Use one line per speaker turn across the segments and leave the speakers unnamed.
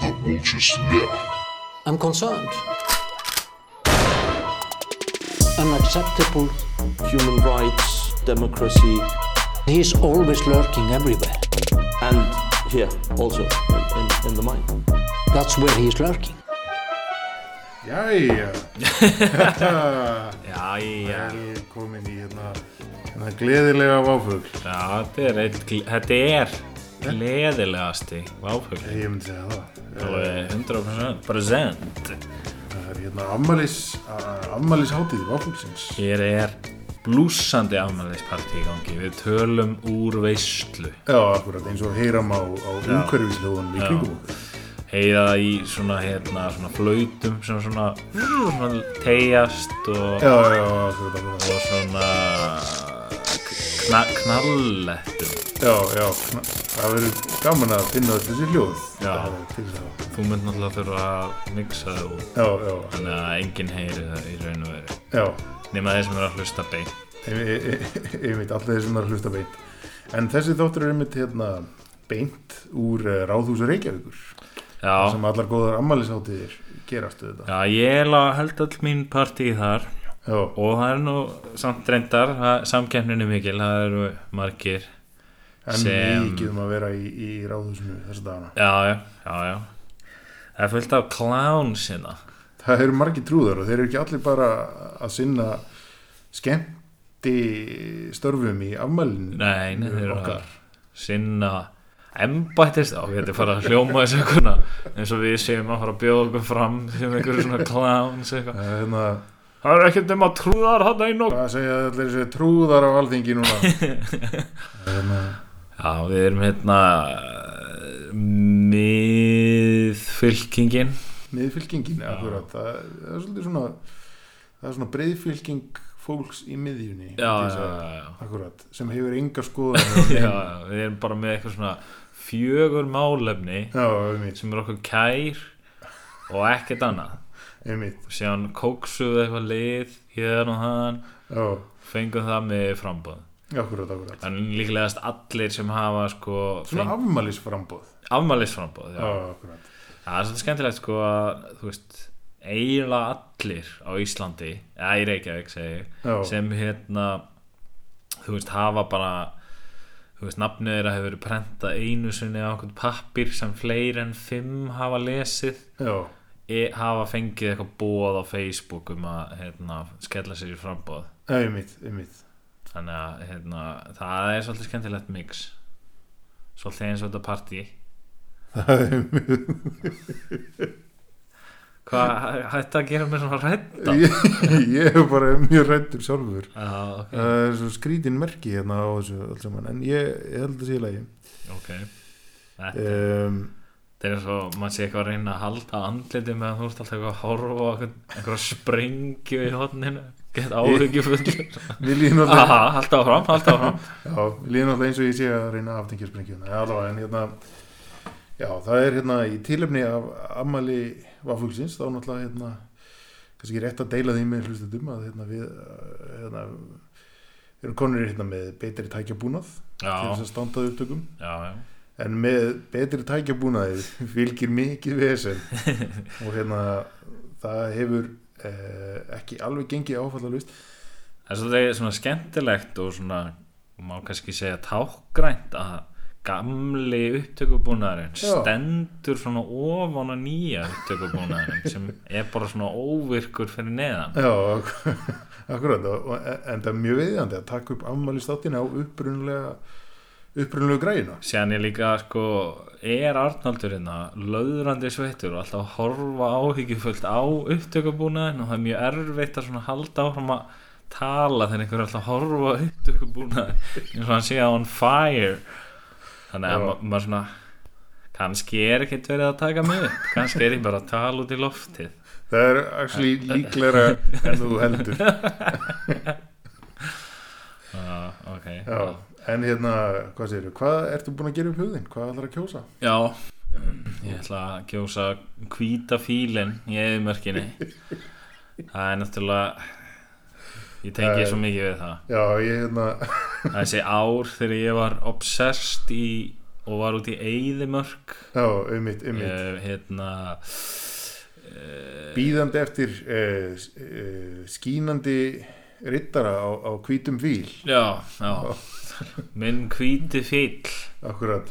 The boat is left.
I'm concerned. Unacceptable.
human rights, democracy,
He's always lurking everywhere.
and here also in, in, in the mind.
That's where he's lurking.
Jæja,
Já, já,
það er komin í hérna, hérna gleðilega váfugl.
já, þetta er, eitt, gl- þetta er gleðilegasti váfugl.
Ég myndi segja það.
Alveg 100% present.
Það er hérna afmælis, afmælishátíð váfuglsins.
Hér er blúsandi afmælisparti í gangi. Við tölum úr veislu.
Já, akkurat, eins og heyram á, á umhverfisljóðunum í kringum okkur.
Heiða í svona, hérna, svona flautum sem svona, svona teigjast og,
Já, já, já, akkurat, akkurat.
og svona kna, knallettum.
Já, já, kna- það verður gaman að finna öll þessi hljóð.
Já.
Það er til þess að-
Þú mynd náttúrulega þurfa að mixa það út.
Já, já,
Þannig að enginn heyri það í raun og veru.
já,
Nefna þeir sem eru að hlusta beint.
einmitt, allir þessum þar hlusta beint. En þessi þáttur er einmitt hérna beint úr eh, Ráðhúsi Reykjavíkur.
Já,
sem allar góðar ammælishátiðir gerast við þetta
já ég er að held all mín partí þar
já,
og það er nú samt reyndar, það- samkeppnin er mikil, það eru margir.
en
sem-
mikið um að vera í, í ráðhúsinu þessa dagana
Já, já, já, já. Það er fullt af hérna. klán sinna.
það eru margir trúðar og þeir eru ekki allir bara að sinna skemmti störfum í afmælinu
Nei, nei, þeir eru að
okkar.
sinna embættist á, þetta er fara að hljóma þessu eitthvað eins og við séum að fara að bjóða okkur fram sem einhverju svona kláns eitthvað.
Það er hérna,
Það er ekkert nema trúðar hann einn og...
hvað segja allir þessi trúðar á alþingi núna Það er hérna,
Já, við erum hérna eh, miðfylkingin.
miðfylkingin akkurat, það, það er svolítið svona það er svona breiðfylking fólks í miðjunni
Já,
myndi ég
já,
segja.
já, já.
akkurat, sem hefur enga skoðan
já, já, við erum bara með eitthvað svona fjögur málefni
já, einmitt,
sem er okkur kær og ekkert annað
einmitt
og síðan kóksuðu eitthvað lið hér og hann
já,
fengum það með frambóð
akkurat, akkurat
en líklegast allir sem hafa sko
Svona afmælisframbóð
afmælisframbóð já.
Já, akkurat
það er svolítið skemmtilegt sko að þú veist eiginlega allir á Íslandi eða í Reykjavík segi ég
Já,
sem hérna þú veist hafa bara þú veist nafnið þeirra hefur verið prentað einu sinni á okkur pappir sem fleiri en fimm hafa lesið
já,
e, hafa fengið eitthvað bóð á Facebook um að hérna, skella sér í frambóð
einmitt, einmitt
þannig að hérna, það er svolítið skemmtilegt mix svolítið eins og þetta partí
Það er einmitt
hvað hætti að gera mér svona rætta
Ég, ég er bara mjög rættur sjálfur
ah, ok,
Það er svo skrítin merki hérna á þessu allt saman En ég, ég held að sé í lagi
okay. Þetta er-
um,
Þetta er eins og maður sé eitthvað að reyna að halda andliti meðan þú ert alltaf eitthvað að horfa á einhvern- einhverja sprengju í hodninu Gett áhyggjufullur
Mér líður náttúrulega
Aha, halda áfram, halda áfram
Já, mér líður náttúrulega eins og ég sé að reyna að aftengja sprengjuna Já, allavega, en hérna Já, það er hérna í tilefni af ammali vaffuglsins Þá náttúrulega hérna kannski ekki rétt að deila því með hlustundum að hérna við eh, hérna, við erum konur hérna með betri tækjabúnað til
Já,
þess að standa að upptökum
já, já
en með betri tækjabúnaði fylgir mikið vesen og hérna það hefur eh, ekki alveg gengið áfallalust
Það er svolítið svona skemmtilegt og svona má kannski segja tákgrænt að gamli upptökubúnaðurinn
Já.
stendur svona ofan að nýja upptökubúnaðurinn sem er bara svona óvirkur fyrir neðan
já, ak- akkurat og, og, en það er mjög veiðandi að taka upp afmælistáttina á upprunulega upprunulegu græna
Síðan ég líka sko er Arnaldur hérna löðrandi sveittur og alltaf að horfa áhyggjufullt á upptökubúnaðin og það er mjög erfitt að svona halda áfram að tala þegar einhver er alltaf að horfa á upptökubúnaðin eins og hann sé on fire þannig
Já.
að ma maður svona kannski er ekkert verið að taka mig upp kannski er ég bara að tala út í loftið
það er actually líklegra en þú heldur
ah, ok
já. en hérna, hvað segirðu, hvað ertu búin að gera upp hugðin, hvað ætlar að kjósa
Já Ég ætla að kjósa hvíta fílinn í eðumörkinni Það er náttúrulega Ég tengi svo mikið við það
já, ég hérna
Þessi ár þegar ég var obsessed í og var út í Eidimörk
já, ummitt, ummitt
uh, hérna uh,
býðandi eftir uh, uh, skínandi rittara á, á hvítum víl
já, já minn hvíti fýll
akkurat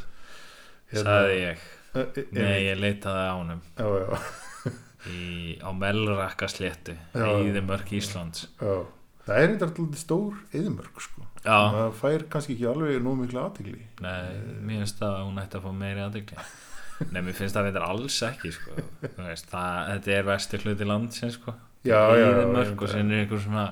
Hérna,
sagði ég,
ég
nei ég leitaði á honum
e, já, já,
í, á Melrakkasléttu
Já.
Eidimörk Íslands
já. það er eitthvað alltaf stór eðumörk sko
já,
það fær kannski ekki alveg nú mikla Eh, aðtigli
nei, mér finnst það að hún ætti að fá meiri aðdegli nei, mér finnst það að þetta er alls ekki sko. Þú veist, það, þetta er vesti hluti landsins sko.
Já, já, já,
Eidimörk
já.
og sen er einhver svona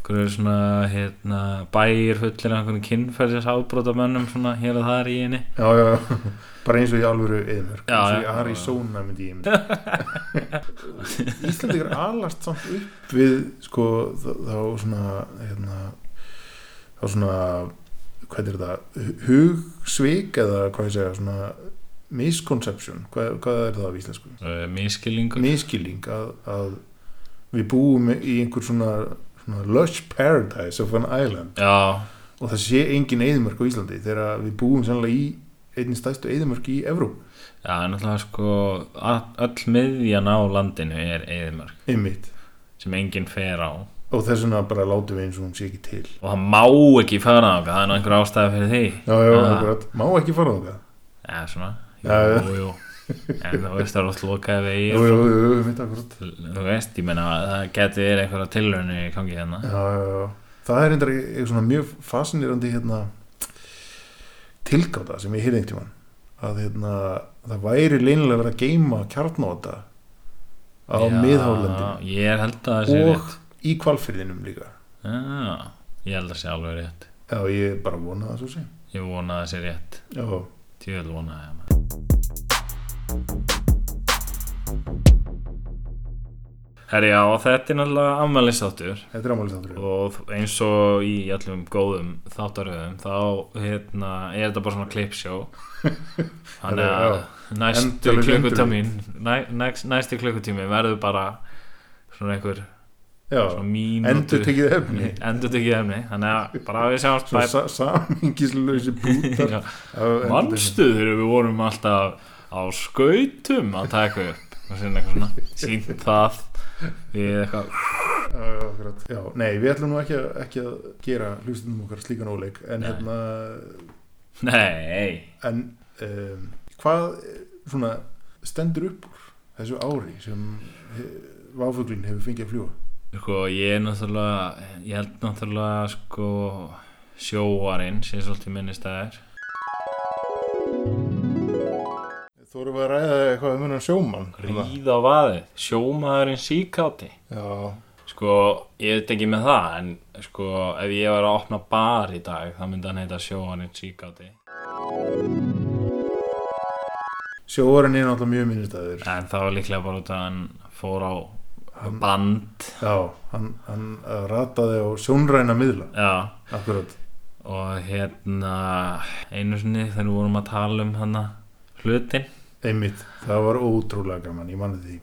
einhverju svona hérna, bæir fullir af einhvern kynferðis afbrotamönnum svona hér og þar í henni
já, já, já. bara eins og í alvöru eðumörk
Já,
eins og
já.
í Arizona myndi ég myndi Íslandingar alast samt upp við sko þá þá svona hérna, þá svona hvað er þetta, hugsvik eða hvað ég segja, svona misconception, hvað, hvað er það á íslensku?
uh, miskilingur
miskilling að, að við búum í einhver svona, svona lush paradise of an island
já,
og það sé engin eðimörk á Íslandi þegar við búum sannlega í einnig stæstu eðimörk í Evró
já, en náttúrulega sko all, öll miðjan á landinu er Eidimörk
einmitt
sem enginn fer á
og þess vegna bara látum við eins og hún sé ekki til
og það má ekki fara þangað, það er nú einhver ástæði fyrir því
já, já,
Ah.
akkurat, má ekki fara þangað
eða svona,
Já, já.
jú, jú en þú veist það er alltaf lokaði
jú,
vegir
jú, jú, jú, mitt akkurat
þú veist, ég menna að það geti verið einhverja tilraunni í gangi hérna
já, já, já. það er einnig eitthvað svona mjög fascinirandi hérna, tilgáta sem ég heyrði einhvern tímann að hérna, það væri leynilega verið að geyma kjarnóta á
Já,
miðhálendinu
ég held að það sé
Og-
rétt
í kvalfyrðinum líka
já, ég held að það sé alveg rétt
já ég bara vona það svo sé
ég vona að það sé rétt,
já,
tjóðil vona að Herri, já, þetta er náttúrulega afmælistáttur
þetta er ámælið þáttur
og eins og í allum góðum þáttaröðum þá hérna, er þetta bara svona klipsjó þannig að
Já.
næstu
Endalaus
klukkutímin næ, næst, næsti klukkutími verður bara svona einhver
já,
svona mínútu
endur tekið efni
endur tekið efni þannig að bara við sjáumst
svo
bæ-
sa samingislösi bútar
Já. manstu þegar við vorum alltaf á skautum að taka upp og sinna eitthvað svona sínt það við eitthvað
já, nei, við ætlum nú ekki, að- ekki að gera hlustundum okkar slíkan óleik en
Nei.
hérna
nei
en um, hvað eh, svona stendur upp úr þessu ári sem váfuglinn hefur fengið að fljúa
Sko, ég er náttúrulega, ég held náttúrulega, sko, sjóarinn sé svolítið minnistæðir.
Þú erum að ræða eitthvað um hennan sjómann hérna?
Ríð á vaðið, sjómaðurinn síkáti.
Já,
Sko, ég veit ekki með það, en sko, ef ég var að opna bar í dag, þá myndi hann heita sjóarinn síkáti.
sjóarinn er náttúrulega mjög minnistæður
En það var líklega bara út að hann fór á
Hann-
band,
Já, hann, hann eh, rataði á sjónræna miðla
já.
Akkurat
Og hérna, einu sinni þegar við vorum að tala um hann hlutin,
Einmitt, það var ótrúlega gaman, ég manni því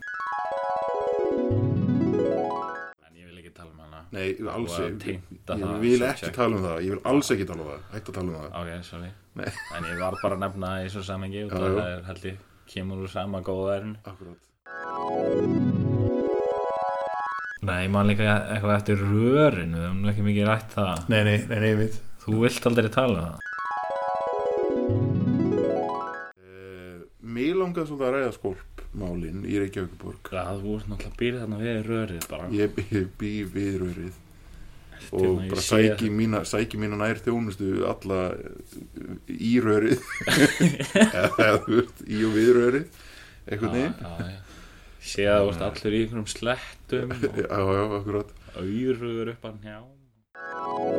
en ég vil ekki tala um hana.
Nei, alls
Og að
ekki
týnda
Ég
það,
vil
sem
ekki
sagt.
tala um það, ég vil alls ekki tala um það Hætt að tala um það
Ok, sorry
Nei.
En ég var bara að nefna það í svo samengi og
Já,
það
jú.
er held ég kemur úr sama góðverðin
Akkurat
Nei, ég man líka eitthvað eftir rörin við höfum nú ekki mikið rætt það
Nei, nei, nei, nei, einmitt
Þú vilt aldrei tala um það
uh, Mér langaði svolítið að ræða skólpmálin í Reykjavíkuborg
Já, þú ert náttúrulega býrið þarna við rörið bara
Ég, ég bý við rörið
hérna,
og
ég
bara
sé
sæki mína, sæki mína nær þjónustu alla eh, í rörið eða þú veist, í og við rörið einhvern veginn
Já, já Sér að þú ert allur í einhverjum slettum og
Já, já, akkurat
auðrugur upp að njá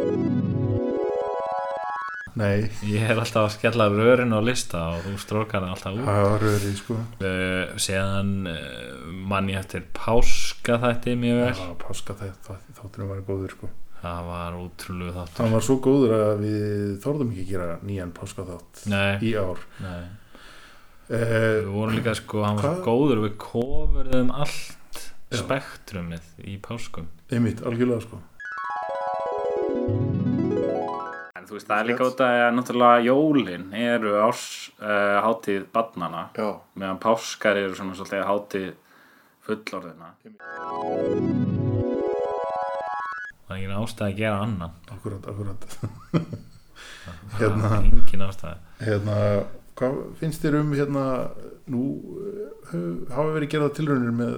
Nei,
Ég er alltaf að skella rörin á lista og þú strókar hann alltaf út
það var rörið, sko
uh, Séðan uh, mann ég eftir páska þætti mjög vel
Já, páska þetta, þátturinn var góður, sko
Það var útrúlegu þáttur
Hann var svo góður að við þorðum ekki að gera nýjan páska þátt
Nei,
í ár
nei
uh,
Við vorum líka sko, hann var
Hvað?
svo góður og við kofurðum allt
Já.
spektrumið í páskum
Einmitt, algjörlega, sko
En
þú veist, það er líka út að náttúrulega jólin eru árs uh, hátíð barnana
Já,
meðan páskar eru svona svolítið hátíð fullorðina
það er engin ástæð að gera annan
akkurat, akkurat
það
Hérna.
er engin ástæð
hérna, hvað finnst þér um hérna, nú eh, hafa verið gerða tilraunir með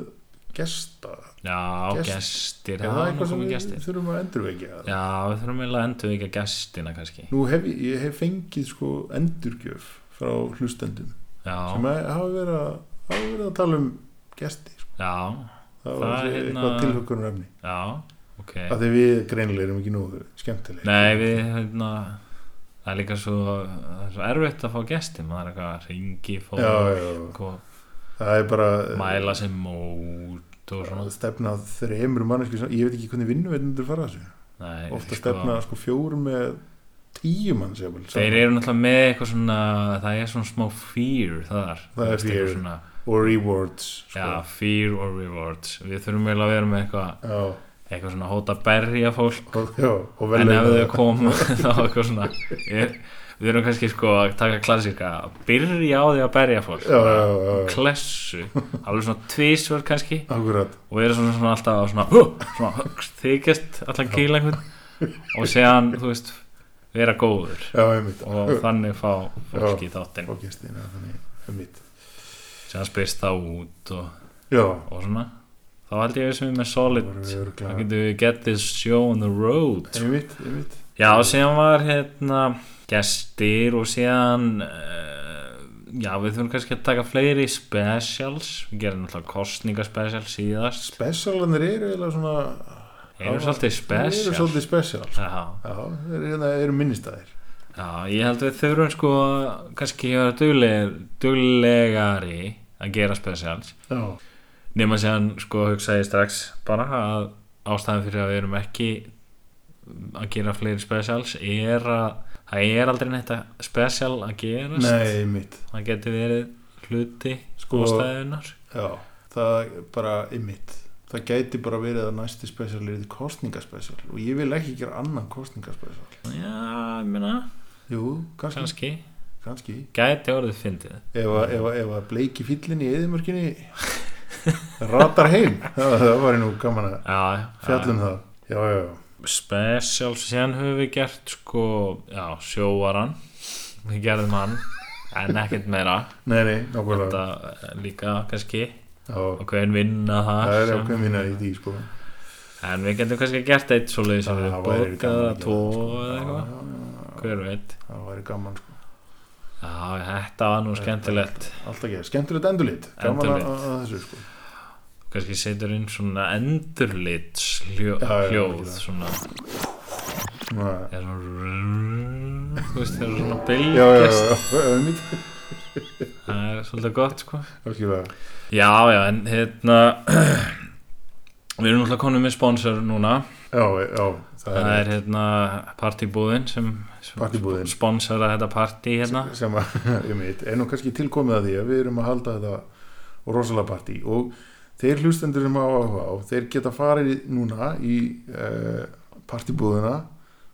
gesta
já,
Gest-
gestir,
Er
já, nú
eitthvað sem
komið
við
gestir
þurfum að endurvekja
já, við þurfum eiginlega að endur ekki að gestina kannski
nú hef ég, ég hef fengið sko endurgjöf frá hlustendum sem
já,
að- hafa verið að, hafa verið að tala um gesti sko.
já,
það
Það
var
er hérna-
eitthvað tilhökkunar efni
já ok
að því við greinilega erum ekki nógu skemmtileg
nei, við, hérna það er líka svo, það er svo erfitt að fá gesti maður er eitthvað að ringi fólk
já, já,
og
það er bara
mæla sem mót og svona
að stefna að þreymur mannesku ég veit ekki hvernig vinnuveitendur fara þessu
Nei,
ofta
sko,
stefna sko fjórum með tíu mann jafnvel,
þeir
saman.
eru náttúrulega með eitthvað svona það er svona smá fear þar
Það er
Þú veist, eitthvað
fear,
svona,
og rewards sko.
já, fear or rewards við þurfum vel að vera með eitthvað
Já,
eitthvað svona hóta að berja fólk
og, já, og vel
en ef þau koma þá eitthvað svona ég, við erum kannski sko að taka klassika að byrja á því að berja fólk
Já, já, já, já.
klessu, alveg svona tvísvör kannski
akkurat
og eru svona, svona alltaf að svona, hú, svona hugst, þykjast alltaf kýla einhvern og séðan, þú veist, vera góður
já, einmitt
og þannig fá fólki í þáttinn
og gestin, já, þannig einmitt
sem spyrst það út og,
já,
og svona þá held ég að við sem við með solid
voru við
þá
örglega
getum við get this show on the road
einmitt, einmitt
já og síðan var hérna gestir og síðan uh, já við þurfum kannski að taka fleiri specials við gerum náttúrulega kostningaspecial síðast
specialanir eru eða svona
Þeir eru svolítið
þeir eru
special
svolítið special sko.
já,
já, þeir eru, hérna- eru minnistæðir
já ég held við þurfum sko kannski að vera dugleg, duglegari að gera specials
já,
nema séðan sko hugsaði ég strax bara að ástæðan fyrir að við erum ekki að gera fleiri specials er að það er aldrei neitt að special að gerast
nei, einmitt
það getur verið hluti
Sko-
ástæðunar
Já, það er bara ymmit það gæti bara verið að næsti spesial er þið kostningaspesial og ég vil ekki gera annan kostningaspesial
já, ég meina,
Jú, kannski,
kannski
kannski.
gæti orðið fyndið
Ef, að- ef, að- ef að bleiki fýllin í eðimörkinni ratar heim það, það var nú gaman að
já,
fjalla um það Já, já, já,
special síðan höfum við gert sko, já, sjóaran við gerðum hann en ekkert meira
nei, nei, nákvæmlega
þetta eh, líka kannski
Já,
og hvern vinna það
það er
sem-
ákveð mínar í því sko
En við getum kannski gert eitt svo leiðis
Það
að við
væri
bókað
gaman að gera
eða
það,
tvo
sko.
eða eitthvað,
Já, já, já,
hver veit
Það væri gaman sko
Já, þetta var nú skemmtilegt
Alltaf ekki, skemmtilegt endurlit Gaman að,
Endurlit.
að að þessu sko
Kannski setur inn svona endurlit
Já, já,
hljóð
já.
svona,
Svona,
er svona þú veist, það er svona
Já, já, já,
bylgjast
já, einmitt
það er svolítið gott sko
Algjörlega
Já, já, en hérna við erum náttúrulega konum með sponsor núna
Já, já, það,
það
er
er hérna partybúðin sem, sem
Partybúðin.
sponsora þetta partí hérna
sem að, ég veit, er nú kannski tilkomið að því að við erum að halda þetta rosalega partí og þeir hlustendur sem hafa áhuga á, þeir geta farið núna í uh, partíbúðuna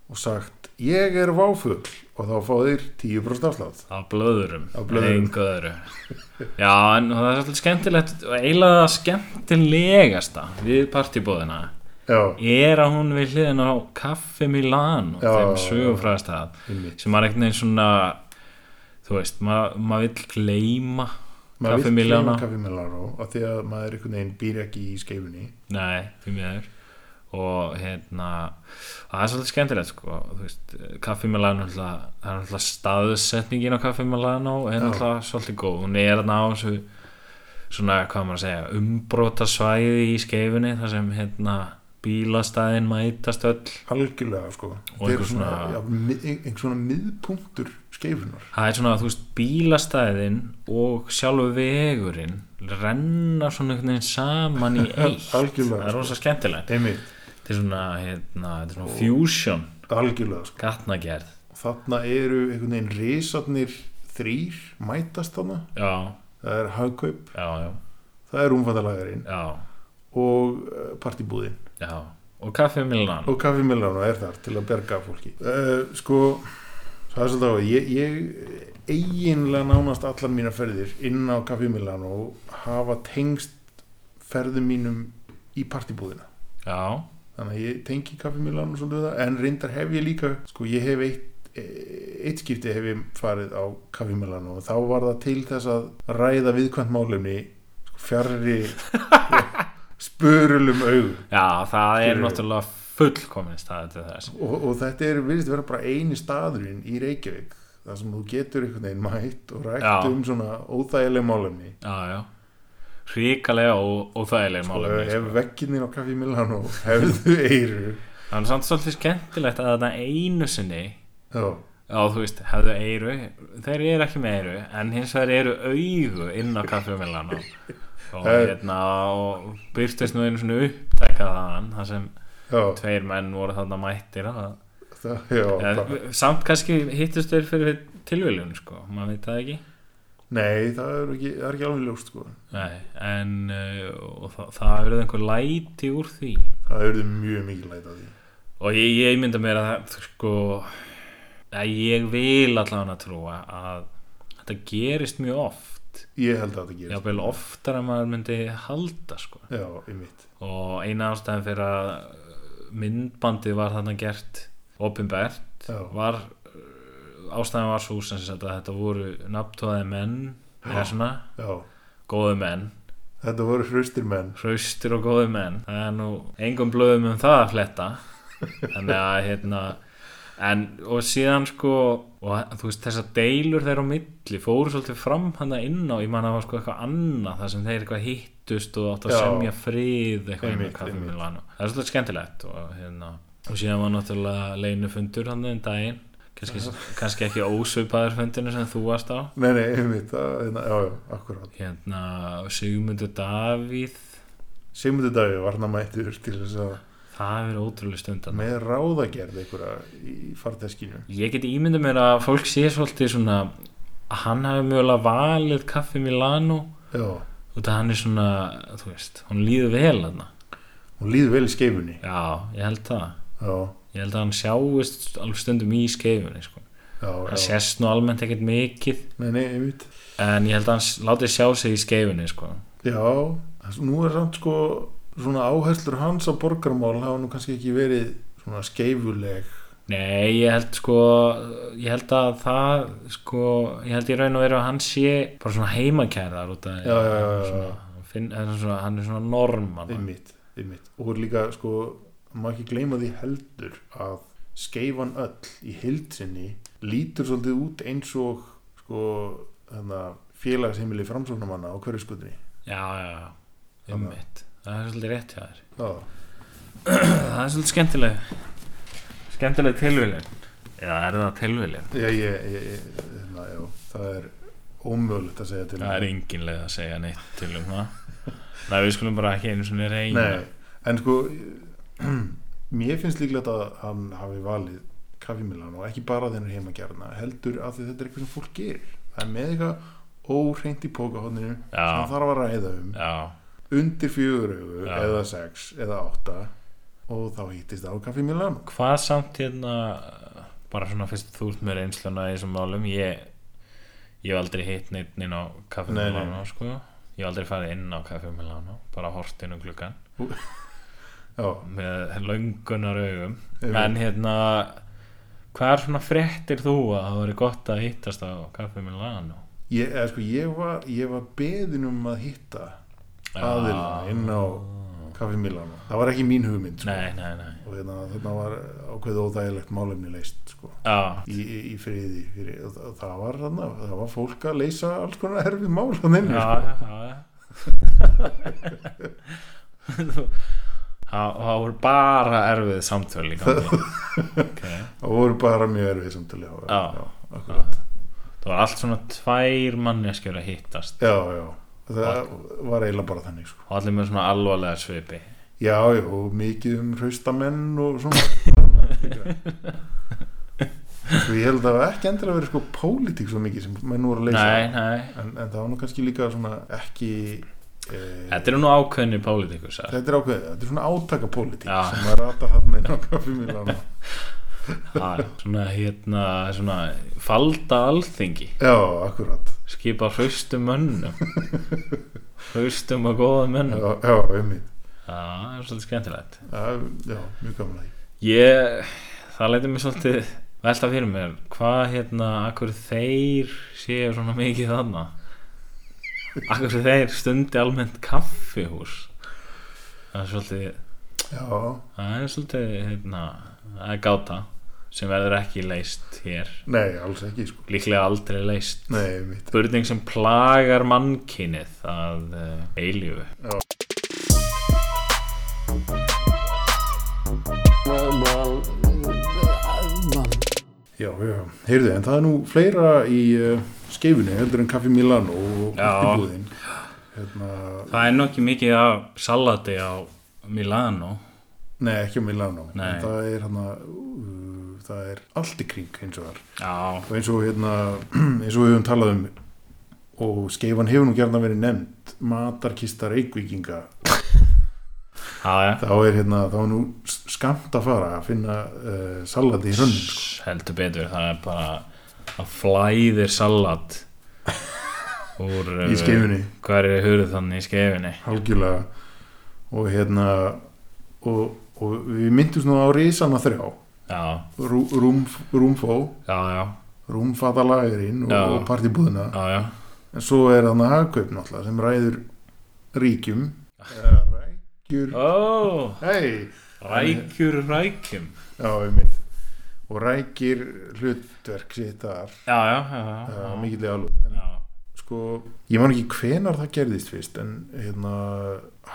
og sagt ég er váfugl og þá fá þeir 10% afslátt
Á blöðurum,
Á blöðrum.
engu öðru Já, en það er svolítið skemmtilegt og eiginlega það skemmtilegasta við partibóðina
Já,
er að hún við hliðin á Kaffi Milan og
Já,
þeim
já.
sögufræðast að
ég veit
sem maður einhvern veginn svona þú veist, maður ma vill gleyma Kaffi Milano.
Kaffi Milano og því að maður einhvern veginn býr ekki í skeifunni
Nei, því miður og hérna það er svolítið skemmtilegt sko þú veist, Kaffi Milano náttúrulega- það er náttúrulega staðsetningin á Kaffi Milano er
Já.
náttúrulega svolítið góð hún er þarna á þessu svona, hvað á maður að segja, umbróta svæði í skeifunni þar sem hérna bílastæðin mætast öll
algjörlega sko
Og
Þeir
einhver
eru svona,
svona-
já, mið- einhver svona miðpunktur skeifunar
það er svona, þú veist, bílastæðin og sjálfu vegurinn renna svona einhvern veginn saman í eitt
Algjörlega,
það er
sko.
rosa skemmtilegt
einmitt,
þetta er svona, hérna, þetta er svona fusion
algjörlega sko
gatnagerð
þarna eru einhvern veginn risarnir þrýr mætast þarna
já,
það er hagkaup,
já, já,
það er umfattalagarinn
já,
og partibúðin
já og kaffi Milan
eh, og Kaffi Milano er þar til að berga fólki uh, sko það er svolítið á því, ég, ég eiginlega nánast allar mína ferðir inn á Kaffi Milano hafa tengst ferðum mínum í partibúðina
já,
þannig að ég tengi Kaffi Milano svolítið við það en reyndar hef ég líka sko ég hef eitt eitt skipti hef ég farið á Kaffi Milano og þá var það til þess að ræða viðkvæmt málumni sko, fjarrri spörulum augum
já, það er
Skilurðu?
náttúrulega fullkomin staði til þess
og, og þetta er virðist vera bara eini staðurinn í Reykjavík þar sem þú getur einhvern veginn mætt og rætt
Já.
um svona óþægileg málumni
já, já ríkalega og, og þægilega
og
málefni
ef
sko.
vegginni á Kaffi Milano hefðu eiru
það er samt svolítið skemmtilegt að þarna einu sinni
já,
já, þú veist, hefðu eiru þeir eru ekki með eiru, en hins vegar eru augu inn á kaffi Milan og, og
Eh.
hérna og byrtist nú einu svona upptæka þaðan þar sem
já,
tveir menn voru þarna mættir að
það, já
En,
bara,
Eh, samt kannski hittust þeir fyrir tilviljun sko, maður veit það ekki
nei, það er ekki, það er ekki alveg ljóst sko.
Nei, en uh, og það, það verður einhver læti úr því
það eruðu mjög mikið læt að því
og ég, ég mynda mér að það, sko að ég vil allavega að trúa að þetta gerist mjög oft
ég held að þetta gerist
jáfnvel oftar en maður myndi halda sko.
já, í mitt
og eina ástæðan fyrir að uh, myndbandið var þarna gert opinbert
já,
var uh, ástæðan var svo sem sagt að þetta voru nafntóðaði menn eða svona
já,
góðu menn
þetta voru hraustir menn
hraustir og góðu menn það er nú engum blöðum um það að fletta þannig að hérna en og síðan sko og þú veist þessar deilur þeir á milli fóru svolítið fram hana inn á ég man að það var sko eitthvað annað þar sem þeir eitthvað hittust og átt að
Já.
semja frið eitthvað inn á
Einmitt,
kaffi
einmitt.
Milano það er svolítið skemmtilegt og hérna og síðan var náttúrulega leinufundur hann um daginn kannski, kannski ekki ósveipaður fundinu sem þú varst á
nei, nei, í mitt, það, hérna, já, já, akkurát
hérna Sigmundur Davíð
Sigmundur Davíð var hann að mættur til þess að
það er ótrúlega stund að
með ráðagerð einhverja í farteskinu
Ég get ímyndað mér að fólk sé svolítið svona að hann hafi mögulega valið kaffi Milano
já,
út að hann er svona, þú veist, hún líður vel þarna.
hún líður vel í skeifunni
Já, ég held það.
já,
Ég held að hann sjáist alveg stundum í skeifunni, sko.
já,
Hann
já.
sést nú almennt ekkert mikið,
nei, nei, einmitt
en ég held að hann s- látið sjá sig í skeifunni, sko.
já, þess- nú er samt sko svona áherslur hans á borgarmál hafa nú kannski ekki verið svona skeifuleg
Nei, ég held sko, ég held að það, sko, ég held í raun og veru að hann sé bara svona heimakærðar út að
Já, já, já, já.
Svona, hann finn, hann er svona, hann er svona normann.
einmitt, einmitt og er líka sko, maður ekki gleyma því heldur að skeifan öll í hildsinni lítur svolítið út eins og sko, þarna félagsheimili framsóknumanna á hverju skutinni
já, já, já,
Þannig að-
ummitt það er svolítið rétt hjá þér
já,
það er svolítið skemmtileg skemmtileg tilvílin já, er það tilvílin?
já, ég, ég, ég þarna, já, það er ómögulegt að segja til
það er engin leið að segja neitt til um það Nei, við skulum bara ekki einu svona reyna
Nei, en sko mér finnst líklegt að hann hafi valið kaffimilan og ekki bara þennan heimagerna heldur að því þetta er eitthvað sem fólk gerir það er með eitthvað óhreint í pókahóðninu sem
Já.
hann þarf að ræða um
Já,
undir fjögurögu
Já.
eða sex eða átta og þá hittist á kaffimilan
hvað samt hérna bara svona fyrst þú ert með reynsluna í þessum málum ég, ég hef aldrei hitt neitt inn á kaffi
Nei, nei.
Milano sko. ég hef aldrei farið inn á kaffi Milano bara hort inn um klukkan
Já,
með löngunar augum
Einmitt.
en hérna hvað er svona fréttir þú að það væri gott að hittast á Café Milano
ég, eða, sko, ég, var, ég var beðin um að hitta aðilana inn á kaffimilan það var ekki mín hugmynd sko.
nei, nei, nei
og hérna, þarna var ákveð óþægilegt málefni leist sko.
já,
í, í í friði fyrir, og það, það, var, hana, það var fólk að leysa alls konar erfið mál hann inn
já,
sko.
já, já, já. Þú- það það voru bara erfið samtöl í gangi okay.
það voru bara mjög erfið samtali já,
Já.
já, akkurat.
það var allt svona tvær manneskjur að hittast
já, já. það var eiginlega bara þannig sko.
og allir með svona alvarlega svipi
já, já, og mikið um hraustamenn og svona og ég held að það var ekki endilega verið sko pólitík svo mikið sem menn voru að leysa
nei, nei,
En, en það var nú kannski líka svona ekki Eh,
Þetta eru nú ákveðinir pólitíkus Já,
Þetta er ákveðið, þetta er svona átakapólitík
Já.
sem að rata hann inn á kaffimilana
svona hérna svona, falda alþingi
Já, akkurat
skipa hraustum mönnum hraustum og
Já,
góðum mönnum Já,
já einmitt
það er svolítið skemmtilegt
Já, já, mjög gaman að því
Ég, það leitir mér svolítið velta fyrir mér, hvað hérna akkur þeir séu svona mikið þarna akkur þeir stundi almennt kaffihús það er svolítið
Já,
það er svolítið hérna, það er gáta sem verður ekki leist hér
nei, alls ekki sko
líklega aldrei leist
Nei, einmitt
spurning sem plagar mannkynið að uh, eilífu
Well, well, uh, um,
Já, já, heyrðu, en það er nú fleira í uh, skeifunni heldur en kaffi Milano og
Já.
kaffibúðin Hérna,
það er nokkið mikið af salati á Milano
nei, ekki á Milano
Nei.
En Það er hérna, uh, það er allt í kring eins og þar
já,
og eins og hérna eins og við höfum talað um og skeifan hefur nú gerðan verið nefnd matarkista reykvíkinga
já, já
þá er hérna, þá er nú skamt að fara að finna uh, salati í hrönnum sko.
heldur betur það er bara að flæðir salat úr
í skeifunni,
hvað er hurð þannig í skeifinni
algjörlega og hérna og, og við myndum svona á risana þrjá
já,
rú, rúm, rúmfó
já, já,
rúmfatalagurinn og,
Já.
og partibúðina
já, já.
en svo er þannig hagkaup náttúrulega sem ræður ríkjum eða rækjur
ó,
hei
rækjur rækjum
Já, einmitt og rækir hlutverk sitt þar
já, já, já, já,
uh,
já.
mikið alveg en,
já.
sko, ég man ekki hvenar það gerðist fyrst en hérna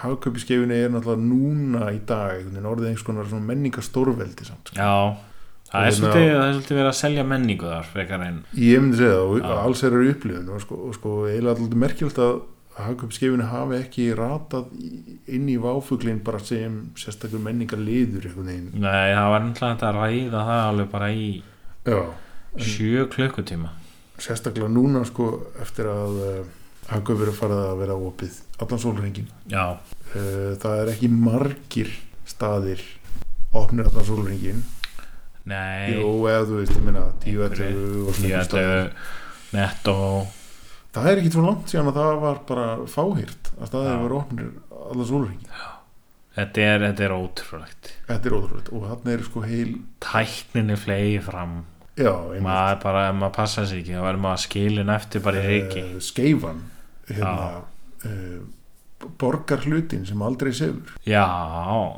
hagkaupiskefinni er náttúrulega núna í dag einhvern veginn orðið einhvers konar svona menningastórveldi samt sko.
já.
Og
Það er,
hérna-
svolítið, það er svolítið verið að selja menningu þar frekar en
sko. ég myndi segja það og
Já.
ja. alls er eru upplifun og sko, og sko eiginlega alltaf merkjöld að hagkaupiskefinni hafi ekki ratað í- inn í váfuglinn bara sem sérstakur menningarliður einhvern veginn
nei, það var náttúrulega þetta að ræða það alveg bara í
Já.
sjö klukkutíma
sérstaklega núna sko eftir að uh, hagkaupir er farið að vera opið allan sólringin
já,
Eh, það er ekki margir staðir opnir allan sólringin
nei
Jó, eða þú veist, ég minna 10
Einhverju.
11 og svona
ég
einhver
ætla
staðir.
netto
það er ekki svo langt síðan að það var bara fáhýrt að staðir
Já.
var opnir allan sólringin
þetta er, þetta er ótrúlegt
þetta er ótrúlega og þarna er sko heil
tækninni flegi fram
já,
maður bara, ef maður passa sig ekki þá verður maður skilin eftir bara í reiki
uh, skeifan hérna, uh, borgar hlutin sem aldrei sefur
já,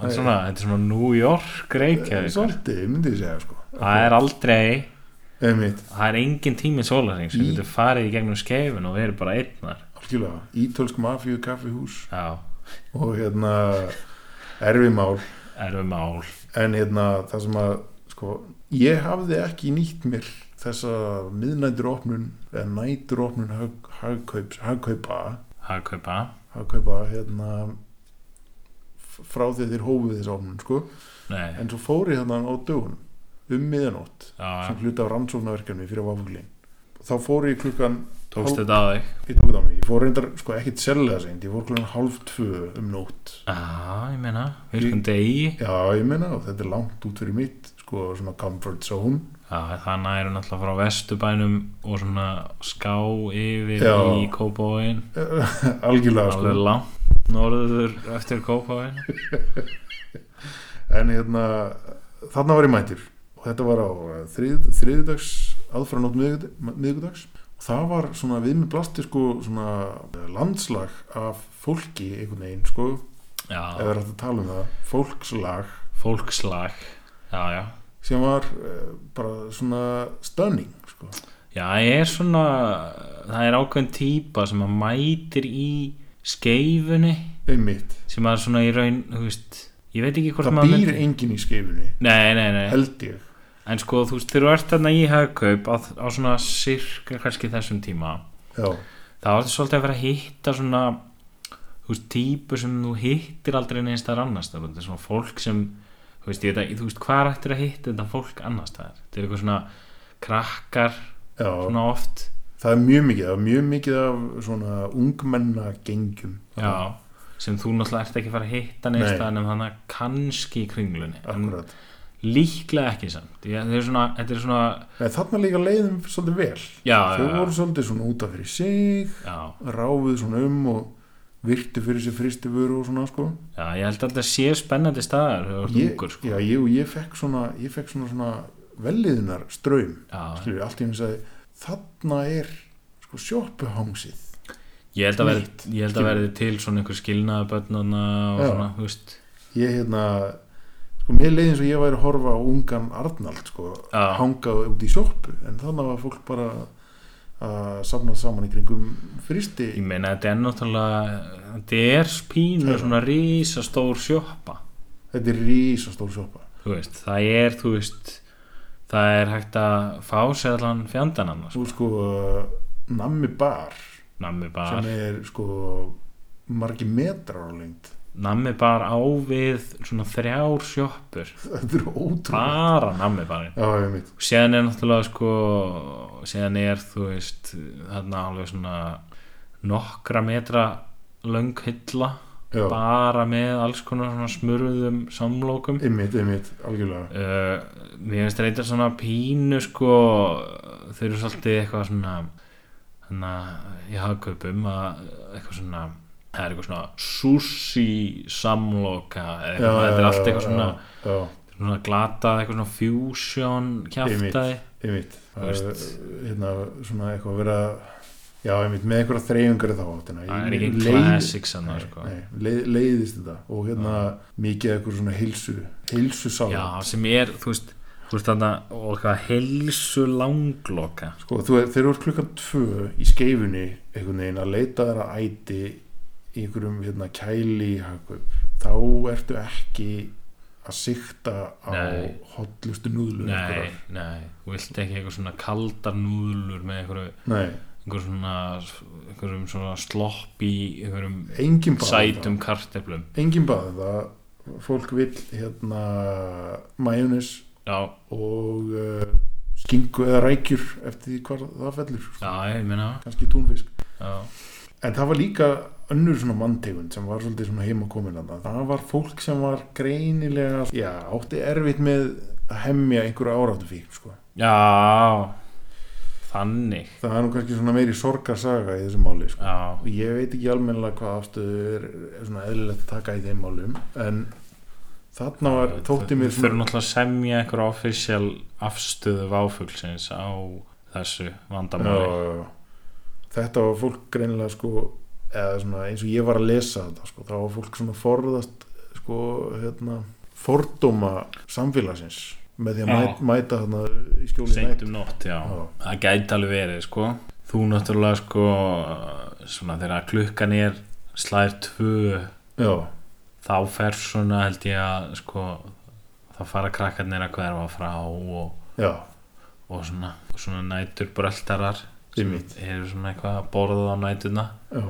en svona, þetta er svona New York
Eh,
reiki
svolítið, myndi ég segja sko
það er aldrei
Einmitt,
það er engin tími sólarring sem getur farið í gegnum skeifin og verið bara einnar
algjörlega, ítölsk mafíu kaffihús
já,
og hérna erfið mál
erum mál
en hérna það sem að sko, ég hafði ekki nýtt mér þessa miðnætturopnun eða nætturopnun hag, hagkaups, hagkaupa
að kaupa
hagkaupa hérna f- frá því að þeir hófið þessa opnun sko.
nei,
en svo fór ég þarna á dögunum um miðanótt
já,
sem hluta af rannsóknarverkefni fyrir váfuglin þá fór ég klukkan
tókst
hálf-
þetta á þig
ég tók það á mig, ég fór reyndar sko ekkit selga seint, ég fór klukkan hálf tvö um nótt
já, ég meina, virkum degi já,
já ég meina og þetta er langt út fyrir mitt sko svona comfort zone
þannig erum náttúrulega frá vesturbænum og svona ská yfir
Já.
í kópóin
algjörlega
alveg
sko.
langt norður eftir kópáin
en hérna þarna var ég mætir og þetta var á eh, þrið, þriðdags aðfranótt miðgudags og það var svona við með blasti sko svona eh, landslag af fólki einhvern veginn sko ef
já,
það er hægt að tala um það fólkslag
fólkslag já, já,
sem var eh, bara svona stunning sko
já, ég er svona það er ákveðin típa sem að mætir í skeifunni
einmitt
sem að svona í raun, þú veist ég veit ekki hvort
það
maður Eh?
býr enginn í skeifunni
nei, nei, nei,
held ég
en sko þú veist þegar þú ert þarna í hagkaup á, á svona sirka kannski þessum tíma
já,
þá er þetta svolítið að vera að hitta svona þú veist, típu sem þú hittir aldrei neins þar annars þar þetta er svona fólk sem þú veist, ég, veit að- þú veist hvað ættir að hitta þetta fólk annars þar þetta er eitthvað svona krakkar
já
svona oft
það er mjög mikið, það er mjög mikið af svona ungmenna gengjum
Já, sem þú náttúrulega ert ekki að fara að hitta
Nei.
neist að en þannig kannski í kringlunni
akkurat
en líklega ekki samt Ég, þetta, er svona, þetta er svona
Nei, þarna líka leiðum svolítið vel
já,
þau
já, já,
voru svolítið svona út af fyrir sig
já,
ráfið svona um og virti fyrir sig fristi vöru og svona sko.
já, ég held að þetta sé spennandi staðar þegar þú ert
ég,
ungur sko.
já, ég, og ég fekk svona, ég fekk svona, svona velliðunar ströym
já,
skilur, allt í henni sagði þarna er sko, sjoppuhangsið
ég held að verði, ég held að verði til svona einhver skilnaða bönnana og
Já.
svona, þú veist
ég hérna sko, mér leiði eins og ég væri að horfa á ungan Arnald sko,
Já.
hangað út í sjoppu en þannig var fólk bara að safna saman í kringum fristi
ég meina þetta er náttúrulega þetta er spínu
Já.
svona rísastór sjoppa
þetta er rísastól sjoppa
þú veist, það er þú veist, það er hægt að fá sér allan fjandanann
svo
sko.
sko nammi bar
nammi
sem
bar,
er sko margi metrar á lengt
nammi bar á við svona þrjár sjoppur
þetta er ótrúlega
bara nammi barinn
já, ég veit,
síðan er náttúrulega sko síðan er þú veist þarna alveg svona nokkra metra löng hylla
já,
bara með alls konar svona smurðum samlókum uh,
einmitt, einmitt algjörlega,
Eh, mér finnst reyndar svona pínu sko þau eru svolítið eitthvað svona þannig að ég hafa kaupum að eitthvað svona það er eitthvað svona sushi samloka eða
Já, já,
eitthvað, Eh, þetta er allt
já,
eitthvað svona,
já,
svona glatað, eitthvað svona fusion kjaftaði
einmitt
Þú veist.
Eh, hérna, svona eitthvað vera já, einmitt, með einhverja þreyfingar í þá áttina
það er ekki
Leið-
classics hann
Nei,
sko.
nei, leið- leiðist þetta og hérna mikið eitthvað svona heilsu heilsu
já, sem er, þú veist þú veist þarna, og eitthvað heilsu langloka
Sko, þú er, þeir eru klukkan tvö í skeifunni einhvern veginn að leita þeirra æti í einhverjum hérna, kæli hagkaup, þá ertu ekki að sikta á
Nei.
hotlustu núðlur
nei,
einhverjar.
nei, þú vilt ekki eitthvað svona kaldar núðlur með einhverju,
Nei,
einhverju svona einhverjum svona slopp í einhverjum
engin bað
sætum karteflum
það engin bað það fólk vill hérna majónis
já,
og uh, skingu eða rækjur eftir því hvað það fellur
já, ég meina
kannski túnfisk
já,
En það var líka önnur svona manntegund sem var svolítið svona heimakomin þarna. Það var fólk sem var greinilega, já, átti erfitt með að hemmja einhverja áráttu fík, sko.
já þannig
Það er nú kannski svona meiri sorgarsaga í þessu máli, sko.
já,
Og ég veit ekki almennilega hvað afstöðu er, er svona eðlilegt að taka í þeim málum, en þarna var, þótti mér
fyrir
svona,
náttúrulega að semja einhver official afstöðu váfuglsins á þessu vandamáli
já, já, já. þetta var fólk greinilega, sko, eða svona eins og ég var að lesa þetta, sko, þá var fólk svona forðast, sko, hérna, fordóma samfélagsins með því að
Já.
mæta, mæta þarna í skjóli
seint um nótt, já.
Já.
það gæti alveg verið sko. þú náttúrulega sko, svona, þegar klukkan er slæðir tvö
nætt já,
þá fer svona held ég að sko, þá fara krakkarnir að hverfa frá og,
já,
og svona, svona nætur bröldarar sem
Einmitt.
eru svona eitthvað að borða á nætuna
já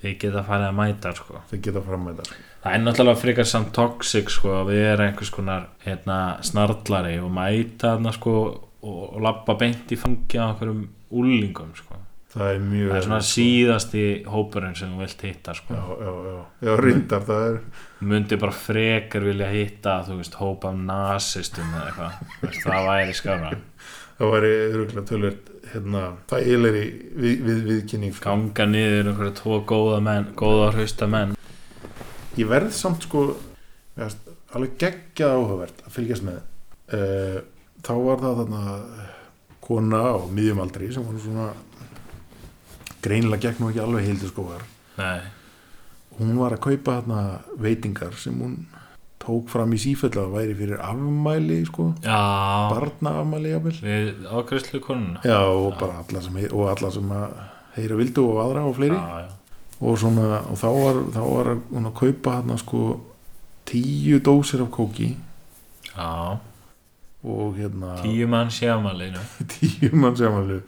þeir geta farið að mæta sko.
þau geta fram með það
það er náttúrulega frekar samt toxic sko, að við erum einhvers konar hérna, snarlari og mæta þarna sko, og, og labba beint í fangja á einhverjum úlingum sko.
það er mjög
það er svona
erfitt,
síðasti hópurinn sem þú vilt hitta sko.
já, já, já, já, reyndar það er
myndi bara frekar vilja hitta þú veist, hópa um nasistum eða eitthvað, Þú veist, það væri skara
það væri öruglega tölvöld hérna, það eilir í við, við, viðkynning sko.
ganga niður einhverja tvo góða menn góða hrausta menn
ég verð samt sko mér fannst alveg geggjað áhugavert að fylgjast með uh, þá var það þarna eh, kona á miðjum aldri sem var svona greinilega gegn og ekki alveg heildi skóvar
Nei.
hún var að kaupa þarna veitingar sem hún tók fram í sífell að væri fyrir afmæli sko,
já,
barna afmæli jafnvel
við ákvæslu konuna
já og bara alla sem, hei- og alla sem að heyra vildu og aðra og fleiri
já, já.
og svona og þá var, þá var hún að kaupa þarna sko tíu dósir af kóki
já.
og hérna
tíu mann sjámalinu
tíu manns afmæli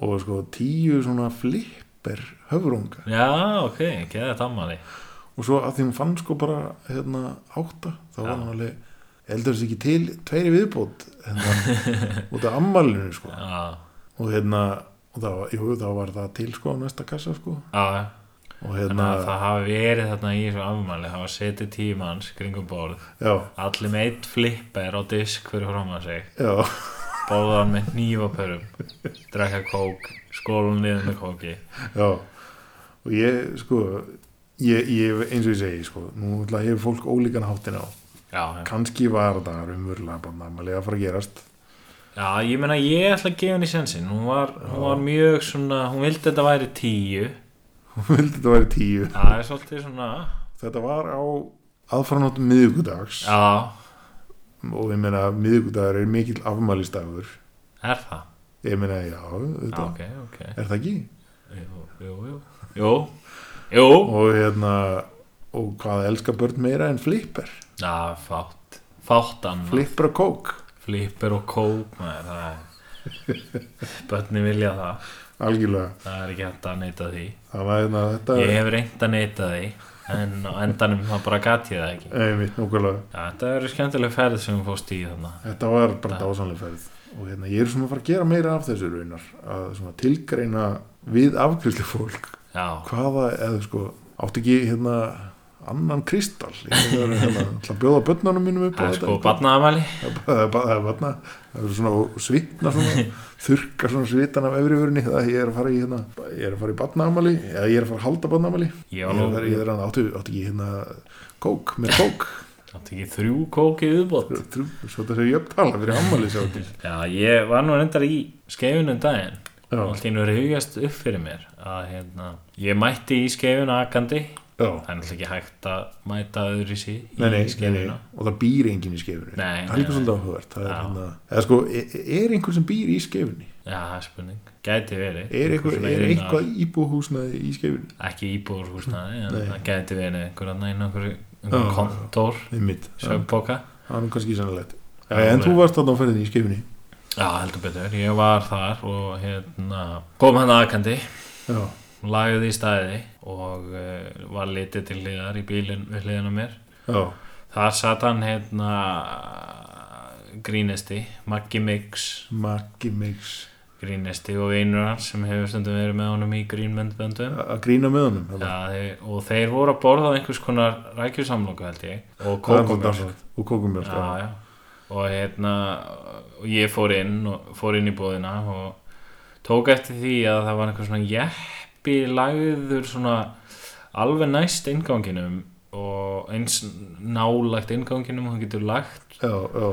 og sko tíu svona flipper höfrunga
já, ok, geða tammali
og svo að því hún fann sko bara hérna átta þá var
Já.
hann alveg eldur þess ekki til tveiri viðbót hérna, út af ammælinu sko
já,
og hérna og það var, jú, þá var það til sko á næsta kassa sko
já,
og
þannig
hérna,
að það hafi verið þarna í þessu afmæli, hafa setið tímans kringum borð,
já,
allir með eitt flipper á disk fyrir fram að sig
já
bóðan með nývapörum drekka kók, skólun liðum með kóki
Já, og ég sko ég, ég eins og ég segi sko nú ætla hefur fólk ólíkan háttin á
já, já.
kannski var það raunverulega bara næmalega að fara að gerast
já, ég meina ég ætla að gefa henni sensin hún var, hún var mjög svona, hún vildi þetta væri tíu
hún vildi þetta væri tíu
það er svolítið svona
þetta var á aðfaranótt miðvikudags
já,
og ég meina miðvikudagur er mikill afmælistagur
er það?
ég meina já,
Já,
þetta
ok, ok
er það ekki
Jú, jú, jú Jú, jú
og hérna og hvað elska börn meira en flipper
Já, fátt Fátt annað
flipper og kók
Flipper og kók maður, það er Bönni vilja það
algjörlega
Það er ekki hægt að neita því
þannig að hérna, þetta
Ég hef reynd að neita því En á endanum það bara gat ég það ekki
einmitt nógulega
Já, þetta eru skemmtileg ferð sem við fórst í þarna
Þetta var bara dásanlega ferð og hérna, ég er svona að fara að gera meira af þessu raunar að svona tilgreina við afgriðslu fólk
Já,
hvaða eða sko átti ekki hérna annan kristall ég er að vera, hérna, ætla að bjóða börnunum mínum upp á
það er sko
eitthvað.
barnaðamæli
Það er bara- það er bara- það er barna það er svona og svitna svona þurka svona svitan af efri vörunni það ég er að fara í hérna ég er að fara í barnaamali eða ég er að fara að halda barnaamali
Ég
ég er
var
að
nú,
fara ég er að átti, átti ekki hérna kók með kók
átti ekki þrjú kók í viðbót
Trú, svo þetta er jöfntala fyrir ammali sá til
Já, ég var nú reyndar í skeifunum um daginn
Já.
og allt í nú rauðjast upp fyrir mér að hérna, ég mætti í skeifun akandi,
já
það er náttúrulega ekki hægt að mæta öðru í
nei, nei, nei,
skeifuna
nei. og það býr enginn í skefunni
Nei,
það er líka
nei,
svolítið áhugavert það er,
Já.
hérna, eða sko, er, er einhver sem býr í skefunni
Já, það er spurning, gæti verið
er, einhver,
Svona
er
inn á-
eitthvað íbúhúsnaði í skefunni
Ekki íbúrhúsnaði, en
Nei.
það gæti verið einhver annar inn á einhverju einhverju
Já.
kontór,
einmitt, það
sömpoka
það er nú kannski sannilegt
Já,
ja, en
nei.
þú varst þarna á ferðinni í skefunni
Já, heldur betur, ég var þar og hérna, kom hann akandi
já,
lagði í staði og uh, var litið til hliðar í bílinn við hliðina á mér
já,
Þar satt hann hérna grínisti, Maggi Mix
Maggi Mix
grínisti og vinur hans sem hefur stundum verið með honum í grínmyndböndum
að að grína með honum
ja,
þarna.
þeir, og þeir voru að borða einhvers konar rækjusamloku held ég og
Það er nú
kókumjólk
dásamlegt. og kókumjölk
já, já. og hérna og ég fór inn og fór inn í búðina og tók eftir því að það var einhver svona jeppi lagður svona alveg næst innganginum og eins nálagt innganginum og hann getur lagt
já, já,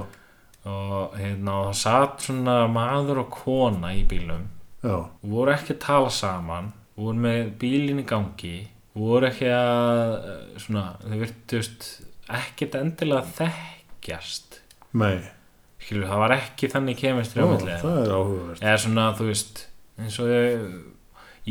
og hérna og það satt svona maður og kona í bílum
já,
voru ekki að tala saman voru með bílinn í gangi voru ekki að eh, svona, þau virtust ekkert endilega þekkjast
nei
skilur, það var ekki þannig kemistri
Ó,
á milli þeirra.
það er áhugavert
eða svona, þú veist eins og ég,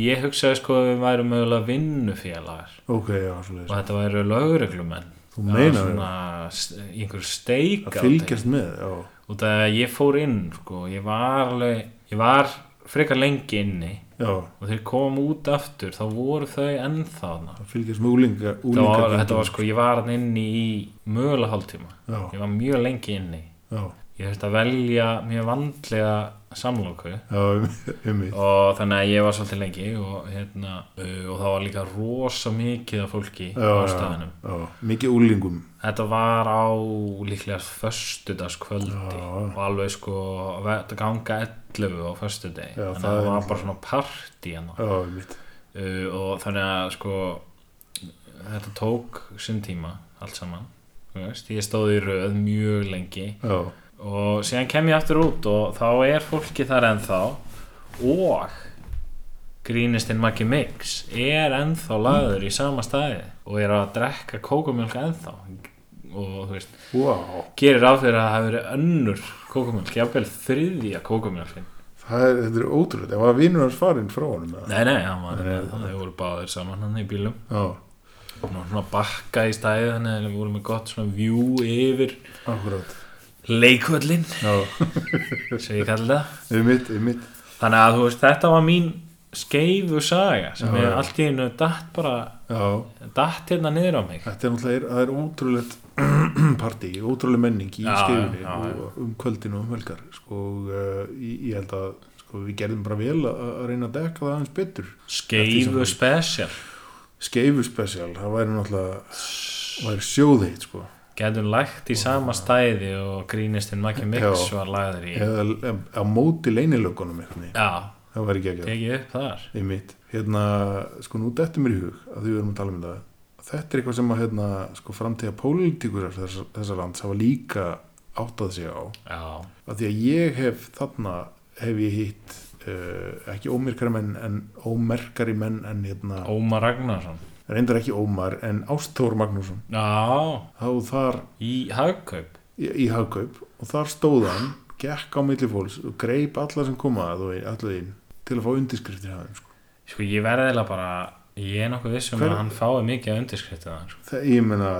ég hugsaði sko að við værum mögulega vinnufélagar
ok, já,
og
svolítið
þetta væru lögreglumenn
Þú
Það var
meinar
svona s- í einhverju
að
steik
fylgjast með, já,
og það ég fór inn sko, ég var alveg, ég var frekar lengi inni
já
og þeir kom út aftur þá voru þau ennþá þarna.
að fylgjast með úlinga,
Þetta
úlinga
var, þetta var sko, ég var hann inni í mögulega hálftíma
já,
ég var mjög lengi inni
já,
ég þurfti að velja mjög vandlega samlóku
já, um
og þannig að ég var svolítið lengi og, hérna, uh, og það var líka rosa mikið af fólki á
já,
staðinum
já, mikið úlingum
þetta var á líklega föstudagskvöldi
Já.
og alveg sko þetta ganga 11 á föstudegi
Já,
þannig
það
að það
er-
var bara svona partí hann
já, mitt
uh, og þannig að sko þetta tók sinn tíma allt saman þú veist, ég stóð í röð mjög lengi
já,
og síðan kem ég aftur út og þá er fólki þar ennþá og grínistinn Maggi Mix er ennþá lagður í sama staði og er að drekka kókumjölk ennþá og þú veist,
wow.
gerir ráð fyrir að það hafi verið önnur kókumjölk, jafnvel þriðja kókumjölkin
það er, þetta er ótrúlega, það var vinur hans farinn frá honum eða?
nei, nei, hann var,
Nei, nei.
þau voru báðir saman hann í bílum
já,
Nú, svona bakka í stæði þannig að við vorum með gott svona vjú yfir
akkurát
leikvöllin
já,
sem ég kalli það
um mitt, um mitt
þannig að þú veist þetta var mín skeifu saga sem
Já,
ég
já.
allt í einu datt bara
já,
datt hérna niður á mig
þetta er náttúrulega, það er ótrúlegt partí, ótrúlega menning í
Já,
skeifinni
já, já.
og um kvöldinu og um helgar sko, uh, eh, ég, ég held að sko, sko, við gerðum bara vel að, að reyna að dekka það aðeins betur
skeifu special
skeifu spesial, það væri náttúrulega væri sjóðheit sko.
getum lægt í sama stæði og grínistinn Maggi Mix
Já.
var lagður í
eða em- á móti leynilökunum einhvernig.
já,
það væri ekki ekki
tekið upp þar
einmitt, hérna, sko nú dettur mér í hug að því við erum að tala um þetta þetta er eitthvað sem að hérna, sko, framtíða pólitíkur þessar, þessar lands hafa líka áttað sig á
já,
að því að ég hef þarna hef ég hitt uh, ekki ómerkari menn en ómerkari menn en hérna,
Ómar Ragnarsson
reyndar ekki ómar en Ástþór Magnússon
já,
þá þar
í hagkaup
í, í hagkaup og þar stóð hann gekk á milli fólks og greip alla sem koma að og allir inn til að fá undirskriftir af þeim sko.
sko ég verðilega bara ég er nokkuð vissum
Hver-
að hann fái mikið að undirskrifta það sko.
það, ég meina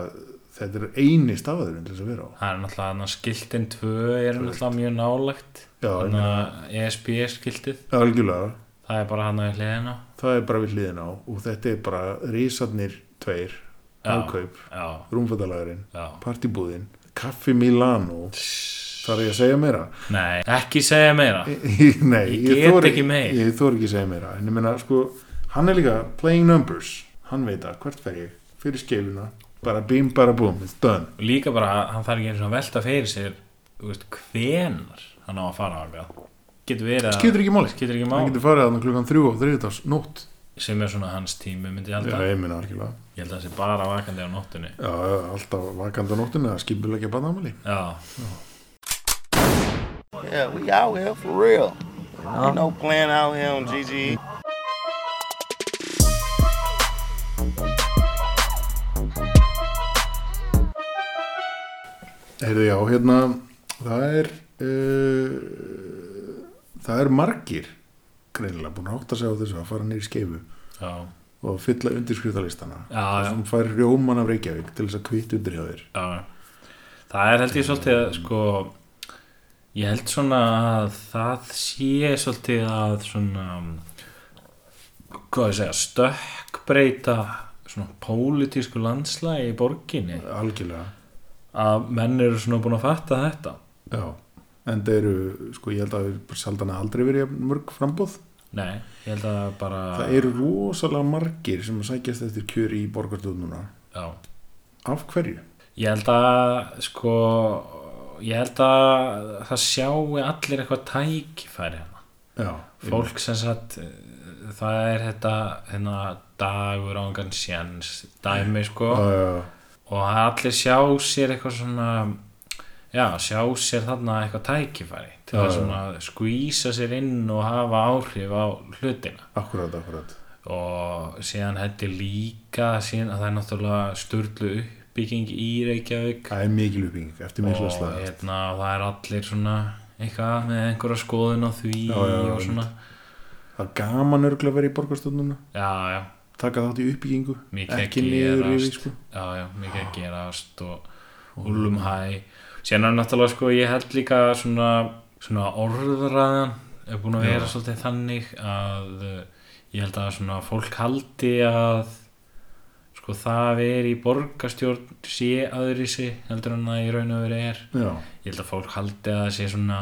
þetta er eini stafaðurinn til þess að vera á
það er náttúrulega hann að skiltin 2 er náttúrulega mjög E nálagt
Já,
hann að ESB skiltið
algjörlega,
það er bara hann að hliðina
það er bara við hliðin á og þetta er bara risarnir tveir,
Já.
hagkaup
já,
rúmfattalagurinn,
já,
partibúðin kaffi Milano þarf ég að segja meira
nei, ekki segja meira
Nei,
Ég get
þori-
ekki meir.
ég þor ekki að segja meira en ég meina sko, hann er líka playing numbers, hann veit að hvert fer ég fyrir skeifuna, bara bím bara búm, it's done
og líka bara, hann þarf ekki einu svona að velta fyrir sér þú veist, hvenar hann á að fara á eitthvað getur verið að
skýtur ekki máli,
skiptir ekki
hann
máli
getur farið að klukkan þrjú á þriðdags nótt
sem er svona hans tími myndi ég
Já,
alltaf
ég meina algjörlega
ég held að það sé bara vakandi á nóttunni
Já, alltaf vakandi á nóttunni að skipulegja barnaamali
já,
Yeah, we out here for real. Ain't no playing out here on E. GG.
Heyrðu já, hérna það er uh, það er margir greinilega búin að átta sig á þessu að fara nýr í skeifu
já,
og fylla undirskriftalistana
Já, já.
sem fær rjóman af Reykjavík til þess að kvitt undir hjá þér
já það er held ég svolítið að sko ég held svona að það sé svolítið að svona um, hvað ég segja, stökkbreyta svona pólitísku landslægi í borginni
algjörlega
að menn eru svona búin að fatta þetta
já. en það eru, sko ég held að við bara sjaldan að aldrei verið jafn mörg frambóð
nei, ég held að bara
það eru rosalega margir sem að sækjast eftir kjör í borgarstjóð núna
já
af hverju?
Ég held að sko ég held að það sjáu allir eitthvað tækifæri hérna. hana.
Já,
fólk sem sagt eh, það er þetta hérna, dagur ángan sjens dæmi sko
uh,
og að allir sjá sér eitthvað svona já, sjá sér þarna eitthvað tækifæri til
Já,
að
já.
svona skvísa sér inn og hafa áhrif á hlutina
akkurat, akkurat
og síðan hætti líka síðan að það er náttúrulega sturlu uppbygging í Reykjavík
Það er mikil uppbygging eftir mikla
og
slag
hérna, það er allir svona eitthvað með einhverja skoðun á því
Já, já, já,
og svona
Það er gaman örgulega að vera í borgarstofnuna
já, já,
taka þátt í uppbyggingu
mikið
ekki
að
niður
gerast
yfir sko.
já, já, mikið að gerast og húlum hæ síðan er náttúrulega sko, ég held líka svona, svona orðræðan er búin að vera svolítið þannig að uh, ég held að svona fólk haldi að sko það að vera í borgarstjórn sé öðri sig heldur en það í raun og verið er
Já,
ég held að fólk haldi að það sé svona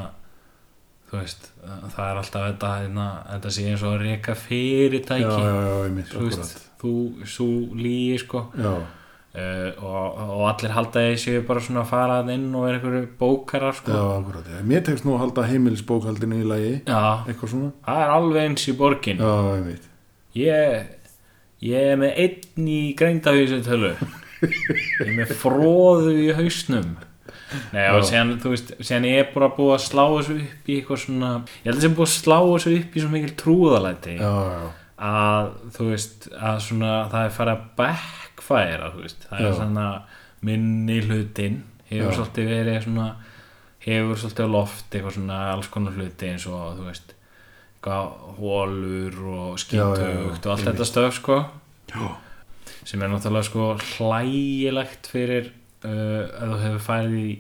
þú veist, að það er alltaf þetta, hérna, þetta sé eins og að reyka
já,
fyrirtæki
já, já, einmitt,
þú veist,
akkurat
þú, þú lígi sko
Já,
uh, og, og allir halda að ég séu bara svona að fara þarna inn og vera einhverju bókarar
já,
sko
akkurat já. Mér tekst nú að halda heimilisbókhaldinu í lagi
Já,
eitthvað svona
það er alveg eins í borgin
Já, einmitt
ég, ég er með einn í greindavísutölu ég er með fróðu í hausnum Nei, og síðan, þú veist, síðan ég er bara búið að slá þessu upp í eitthvað svona ég held að sem búið að slá þessu upp í svo mikil trúðalæti
Já, já,
að þú veist að svona það er farið að backfire þú veist, það er
Já.
svona minni hlutin hefur
Já.
svolítið verið svona hefur svolítið á loft eitthvað svona alls konar hluti eins og þú veist eitthvað hólur og
já, já,
skítugt og allt þetta stöf sko
já,
sem er náttúrulega sko hlægilegt fyrir uh, að þú hefur farið í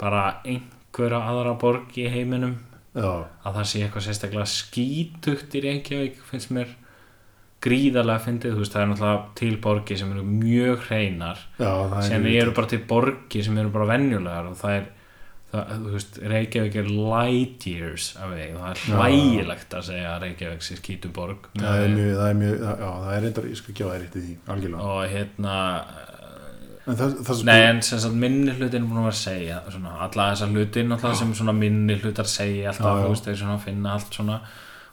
bara einhverja aðra borg í heiminum
já,
að það sé eitthvað sérstaklega skítugt í Reykjavík finnst mér gríðarlega fyndið, þú veist, það er náttúrulega til borgi sem eru mjög hreinar
já það
sem eru bara til borgi sem eru bara venjulegar og það er það, þú veist, Reykjavík er light years af vegi og það er hlægilegt að segja að Reykjavík sé skítuborg
það er mjög, það er mjög, já, það er reyndar, ég skal gefa það rétt í því, algjörlega.
og hérna
En það, það sem
nei en sem sagt minni hlutin er búin að vera að segja svona, alla þessar hlutin alltaf sem svona minni hlutar segja alltaf,
Já, já.
þú veist, þeir svona finna allt svona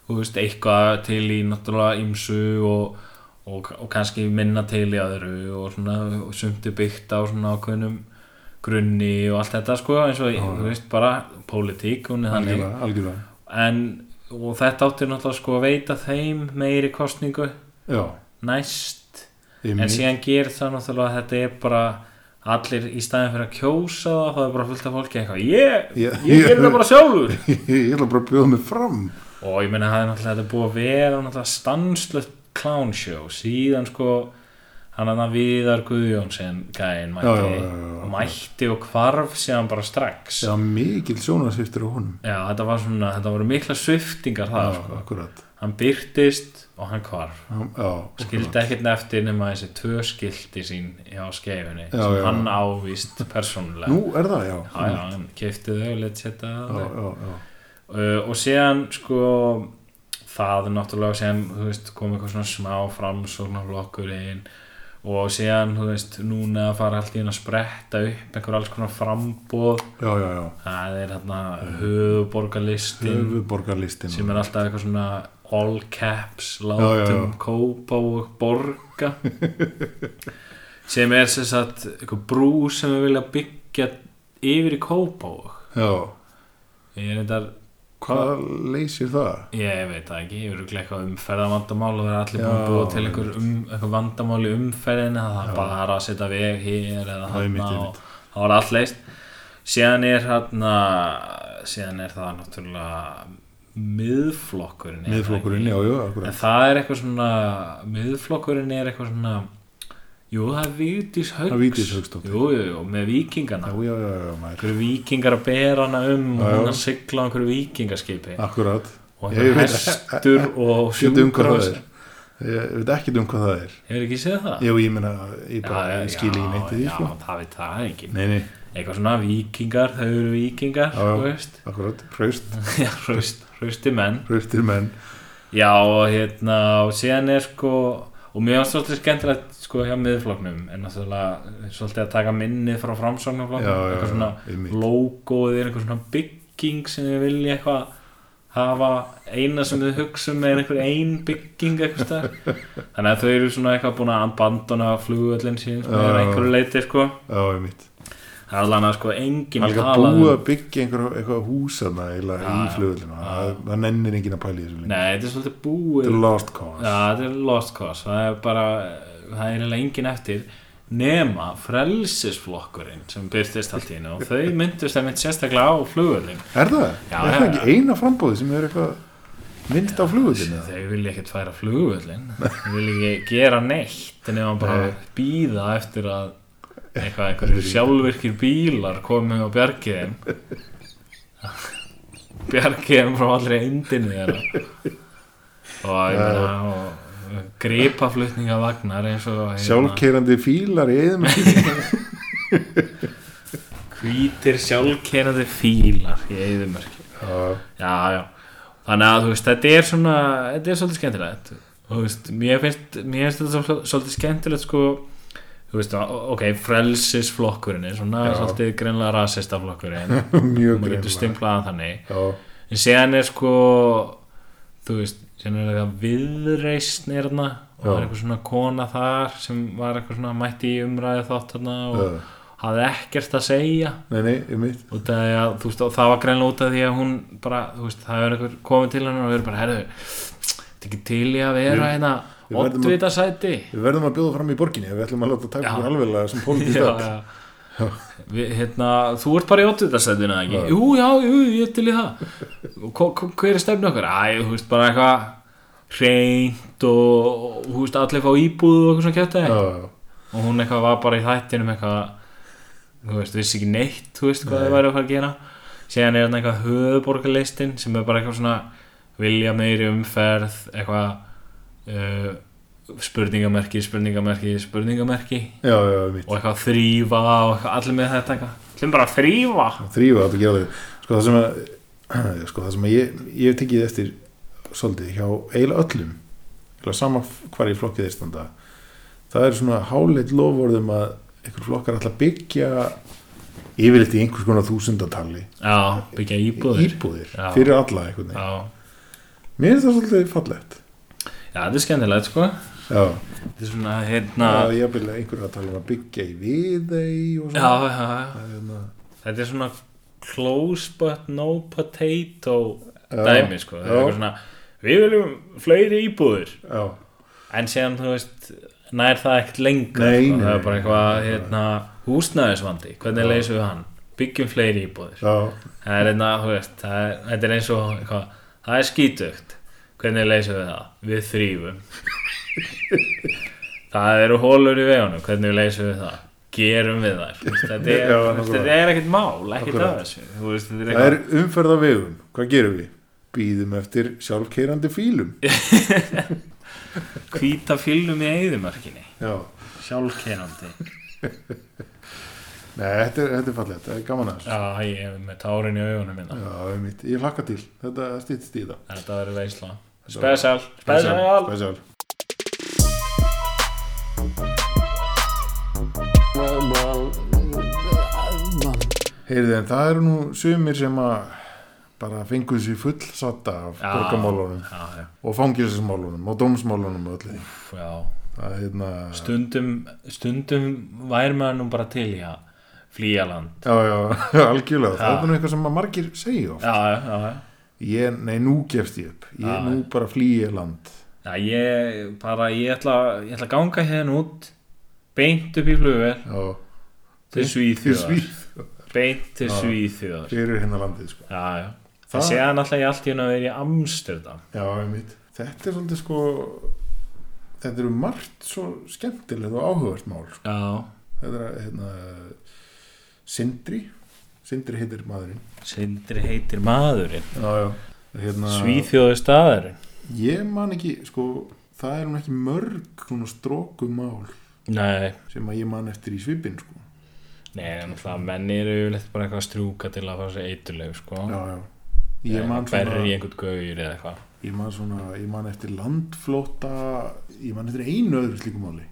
þú veist, eitthvað til í náttúrulega ymsu og, og, og kannski minna til í öðru og svona og sumti byggt á svona ákveðnum grunni og allt þetta sko eins og, þú veist, bara pólitík hún er þannig
algjörlega, algjörlega,
en og þetta átti náttúrulega sko að veita þeim meiri kostningu
já,
næst en
einmitt,
síðan gerir það náttúrulega að þetta er bara allir í staðin fyrir að kjósa það það er bara fullt af fólki eitthvað ég,
Já.
ég gerir það bara sjálfur
ég ætla bara að bjóða mig fram.
og ég meina það er náttúrulega þetta er búið að vera náttúrulega stanslögt clownshow síðan sko hann að viðar Guðjónsson gæinn mætti
Já, já, já, já, já.
mætti og hvarf síðan bara strax
Já, mikil sjónarsýftur á honum.
Já, þetta var svona, þetta voru mikla sviftingar það
Já,
sko.
akkurat.
hann byrtist og hann hvarf
Já, já,
skildi ekkert eftir nema þessi tvö skildi sín hjá skeifinni
Já,
sem
já.
hann ávist persónulega
Nú er það, já.
já, já, hann keipti þau let's setja
já,
það
já, já.
uh, og síðan sko það er náttúrulega sem þú veist, kom eitthvað svona smá framsóknarflokkur inn og síðan þú veist, núna fara allt í hann að spretta upp einhver alls konar frambóð
Já, já, já.
það er hérna
Mm.
höfuborgarlistin
Höfuborgarlistin.
sem er alltaf eitthvað svona all caps,
Já, já,
látum,
já.
kópa og borga sem er sem sagt eitthvað brú sem við vilja byggja yfir í kópa
Já,
ég er þetta
hvað leysir það?
ég veit það ekki, ég er örugglega eitthvað umferðamandamál og það er allir
Já,
búin að búa til einhver, um, einhver vandamál í umferðinu það er bara að setja veg hér eða
er mitt,
hann
einmitt.
og það var allt leist síðan er hann síðan er það náttúrulega miðflokkurinn er það
Miðflokkurinn,
ekki?
já, já,
En
akkurat.
það er eitthvað svona miðflokkurinn er eitthvað svona Jú, það er Vigdís Hauks
Það Vigdís Hauksdóttir.
Jú, jú, jú, með vikingana
Já, já, já, já, maður.
Einhverju vikingar að bera hana um og
Já, já.
hún að sigla á einhverju vikingaskipi
Akkurat.
og
Ég
einhverju
veit-
hestur og
Sjötu um hvað það
sjúkrahús
er. Ég veit ekki um hvað það er.
Hefur ekki séð það?
Jú, ég meina, ég bara ég skil ekki neitt í því,
Ah. Já,
sko.
það veit það ekki
Nei, nei,
Eitthvað svona vikingar, þau eru vikingar
Já, já.
þú veist
akkurat, hraust,
Já, hraust, hrausti menn
hraustir menn.
Já, og hérna, og síðan er sko og mér var svolítið skemmtilegt sko hjá miðfloknum en náttúrulega svolítið að taka minni frá
Já,
framsóknarfloknum
já,
eitthvað
já,
svona
einmitt.
logoið er einhver svona bygging sem þið vilja eitthvað hafa eina sem þið hugsa um er einhver ein bygging eitthvað staðar. þannig að þau eru svona eitthvað búin að abandona flugvöllin sín
Já,
sko, er
já, já.
einhverju leiti sko
Já, ég mitt.
það er allan að sko enginn
Alga
talað
búið
um-
að byggja einhver, eitthvað húsana eða í
já.
flugulina. Það, það nennir enginn að pæla í þessu lengur.
Nei, þetta er svolítið
Þetta
búið
er lost cause.
Já, þetta er lost cause það er bara, það er eiginlega engin eftir nema frelsisflokkurinn sem byrtist allt í hennu og þau myndust það mynd sérstaklega á flugurinn
Er það?
Já,
er
já,
það ekki eina frambóði sem er eitthvað minnst á flugulina?
þau vilja ekkert færa flugurinn þau vilja ekki gera neitt nema bara býða eftir að eitthvað, einhverjir sjálfvirkir bílar komið og bjargið þeim bjargið þeim frá allri endinu þeirra og ég meina og gripaflutningavagnar eins og hérna-
Sjálfkerandi fílar í eðum
hvítir sjálfkerandi fílar í eyðumörki já, já. þannig að þú veist, þetta er svona þetta er svolítið skemmtilegt Þú veist, mér, finnst, mér finnst þetta svol- svolítið skemmtilegt sko þú veist, ok, frelsisflokkurinn er svona svolítið greinlega rasistaflokkurinn
mjög
maður getur
greinlega.
stimplaðan þannig
Já,
en séðan er sko þú veist, séðan er eitthvað viðreisn er þarna og það er eitthvað svona kona þar sem var eitthvað svona mætti í umræði þátt þarna og
Já.
hafði ekkert að segja
nei, nei, ég mitt.
út af því að þú veist og það var greinlega út af því að hún bara þú veist það er einhver komið til hennar og verið bara herðu þetta er ekki til í að vera hérna
við verðum að-
oddvita sæti
Við verðum að bjóða fram í borginni ef við ætlum að láta taka
Já.
okkur alveglega sem pólitík
já,
stöld.
já. Við, hérna, þú ert bara í oddvita sætina ekki jú já jú ég er til í það Og hva- hva- hver er stefnu okkar æ þú veist bara eitthvað hreint og og, þú veist allir fá íbúð og eitthvað svona kjötaði
Já, já.
og hún eitthvað var bara í þættinum eitthvað þú veist, vissi ekki neitt þú veist hvað þau væri að fara að gera síðan er hann eitthvað höfuborgarlistin sem er bara eitthvað svona vilja meiri umferð eitthvað uh, spurningamerki, spurningamerki, spurningamerki
Já, já, ég mitt.
og eitthvað þrýfa og eitthvað, allir með þetta eitthvað
Þeim bara að þrýfa
þrýfa að gera þau sko það sem að, sko, það sem að ég, ég hef tekið eftir svolítið hjá eiginlega öllum eiginlega sama hvar í flokkið þeir standa það er svona háleit lofvörðum að einhver flokkar ætla að byggja yfirleitt í einhvers konar þúsundatali
Já, byggja íbúðir
íbúðir
Já.
fyrir alla einhvern veginn
Já,
mér finnst það svolítið fallegt
já þetta er skemmtilegt sko
já,
Þetta er svona hérna
að ég vil einhver að tala um að byggja í við þeir og
Já,
svona
já, já
Það er hérna,
Þetta er svona close but no potato dæmi sko Það er
Já.
eitthvað svona Við viljum fleiri íbúðir
já,
En síðan þú veist nær það ekkert lengur
Nei,
sko.
nei,
Það er
nei.
bara eitthvað hérna, húsnæðisvandi Hvernig leysum við hann? Byggjum fleiri íbúðir
já,
Það er einna, þú veist, það er, þetta er eins og eitthvað, það er skítugt. Hvernig leysum við það? Við þrýfum. það eru hólur í vegunum, hvernig leysum við það? Gerum við þær. Þú veist, Þetta er,
Já,
þú veist,
nákvæmlega.
þetta er ekkert mál, ekkert
Nákvæmlega.
af þessu. Þú veist, þetta er
það er
eitthvað,
umferð á vegum hvað gerum við? býðum eftir sjálfkeirandi fílum
hvíta fylgum í eyðumörkinni,
já
sjálfkerandi.
Nei, þetta er, þetta er fallegt, þetta er gaman aðeins.
Já, ég er með tárin í augunum minna.
Já, ég mitt, ég hlakka til, þetta stýttist í það.
Þetta verður veisla. Spesial,
Spesial.
spesial.
Spesial. Heyrðu, en það eru nú sumir sem að bara fengu sér full satta af
Já.
borgamálunum
Já, já,
og fangilsismálunum og dómsmálunum og öllu því.
já.
Það er hérna...
stundum, stundum væri maður nú bara til í að flýja land
Já, já, algjörlega. Það er nú eitthvað sem að margir segja of.
já, já, já, já.
Ég, nei, nú gefst ég upp. Ég
Já.
nú bara flýja land.
já ég bara, ég ætla, ég ætla að ganga hérna út beint upp í flugvel
Já,
til
fyrir
Svíþjóðar
svíð
beint til Svíþjóðar já,
fyrir hérna landið, sko.
já,
Það-
það séðan alltaf ég allt í hérna að vera í Amsterdam
Já, einmitt. Þetta er svolítið sko þetta eru margt svo skemmtilegt og áhugavert mál. sko.
já,
Þetta er hérna Sindri Sindri heitir maðurinn.
Sindri heitir maðurinn
Já, já. Hérna,
Svíþjóði staðurinn
Ég man ekki, sko það er hún ekki mörg svona stróku mál
nei,
sem að ég man eftir í svipin, sko.
nei, en það menni eru yfirleitt bara eitthvað að strjúka til að fá sér eiturlegu sko
Já, já. Ég man,
berri
svona,
einhvern gauður eða eitthvað
ég man svona ég man eftir landflóta ég man eftir einu öðru slíku máli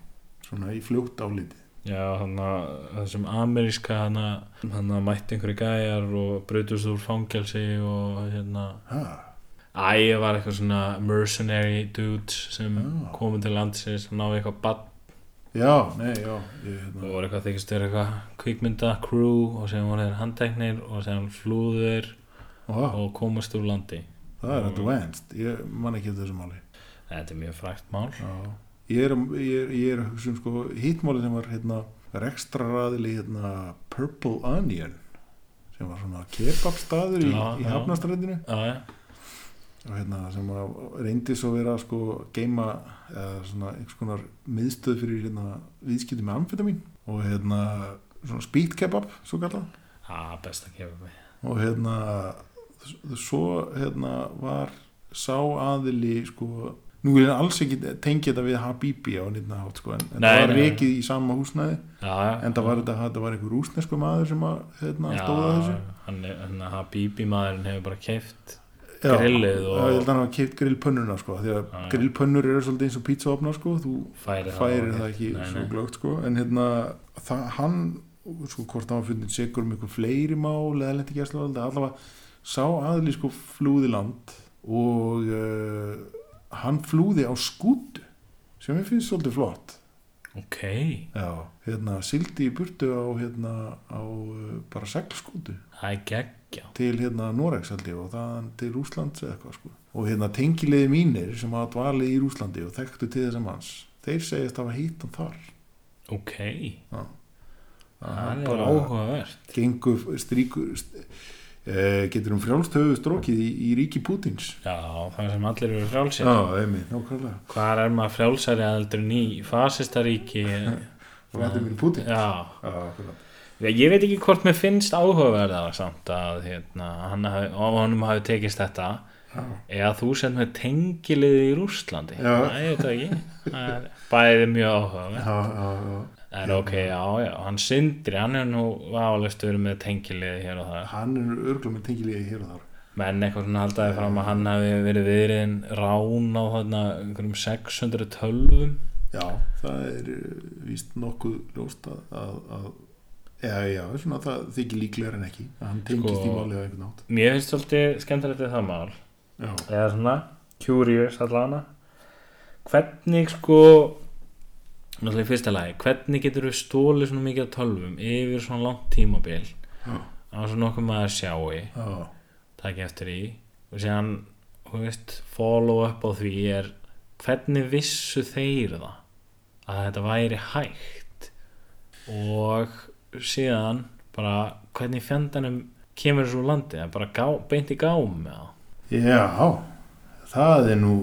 svona í fljótt áliti.
Já, hann að þessum ameríska hann að hann að mætti einhverju gæjar og brutust úr fangelsi og hérna
Ha,
Æ, ég var eitthvað svona mercenary dudes sem
Já.
komu til landsins hann náði eitthvað bann
já, nei, já. Ég, hérna,
og voru eitthvað þykist verið eitthvað kvikmynda crew og sem voru þeir handteknir og sem flúður
Vá.
og komast úr landi
Það
Mm.
er advanced, ég man ekki eftir þessu máli
Þetta er mjög frækt mál
Ég er, ég er, ég er að hugsa um sko hittmáli sem var hérna rekstraraðili hérna Purple Onion sem var svona kebabstaður í,
Já,
í
já.
hafnastræðinu
Já, já,
og hérna sem að reyndi svo vera sko geima eða svona einhvers konar miðstöð fyrir hérna viðskipti með amfetamin og hérna svona speed kebab svo kallað
Já, best að gefa mig
og hérna svo hérna var sá aðili sko nú er það alls ekki tengið þetta við Habibi á nýtna hátt sko en, en
Nei,
það var
nei.
rekið í sama húsnæði
Já, já
en það var þetta, þetta var einhver rúsnesku maður sem að hérna stóða þessu
hann, er- hann að Habibi maðurinn hefur bara keift
Já,
grillið og-
Já, ég held að hann hafa keipt grillpönnuna sko því að
já.
grillpönnur eru svolítið eins og pizzaofnar sko þú
færir
færir
á-
það ekki
Nei,
svo
nei.
glögt sko en hérna það, hann sko hvort hann var fundin sigur um einhver fleiri mál eða lendi gæslu allavega sá aðli sko flúði land og uh, hann flúði á skútu sem ég finnst svolítið flott
Ok,
Já. hérna sildi í burtu á hérna á uh, bara seglskútu
það er geggja
til hérna Noregs held ég og þaðan til Rúslands eða eitthvað sko og hérna tengilegði mínir sem hafa dvalið í Rúslandi og þekktu til þessum hans þeir segjast hafa hýtt hann þar
Ok,
Að
það
hann
er
bara
áhugavert
gengur stríkur st, uh, getur um frjálst höfuð strókið í, í ríki Pútins
Já, það sem allir eru frjálsir
já, einmitt, nákvæmlega
Hvar er maður frjálsari aðeldur en í fasistaríki
Vladimir Pútin já,
Já,
akkurat.
ég veit ekki hvort mér finnst áhugaverða samt að hérna, hann hafi, á honum hafi tekist þetta eða þú sem með tengilið í Rússlandi
Já.
Nei, ég veit það ekki Það er bæði mjög áhugaverð
já, já, já.
En en ok, já, já, hann sindri hann er nú álega verið með tengilið hér og það,
Hann er örglum með tengilegi hér og þar
menn eitthvað svona haldaði fram að hann hafi verið viðriðin rán á þarna einhverjum 600 tölvum
Já, það er eh, víst nokkuð ljóst að, að, að Já, já, svona það þykir líklegar en ekki að hann tengist í
Sko-
málið á einhvern átt
mér finnst svolítið skemmtilegt við það mál
Já,
eða svona curious allana hvernig sko náttúrulega í fyrsta lagi hvernig getur við stólið svona mikið af tölvum yfir svona langt tímabil
Já.
á svona okkur maður sjái
já,
takk eftir í og síðan, þú veist, follow up á því er hvernig vissu þeir það að þetta væri hægt og síðan bara hvernig fjandanum kemur þessu úr landi það er bara gá, beint í gám með það
já Það er nú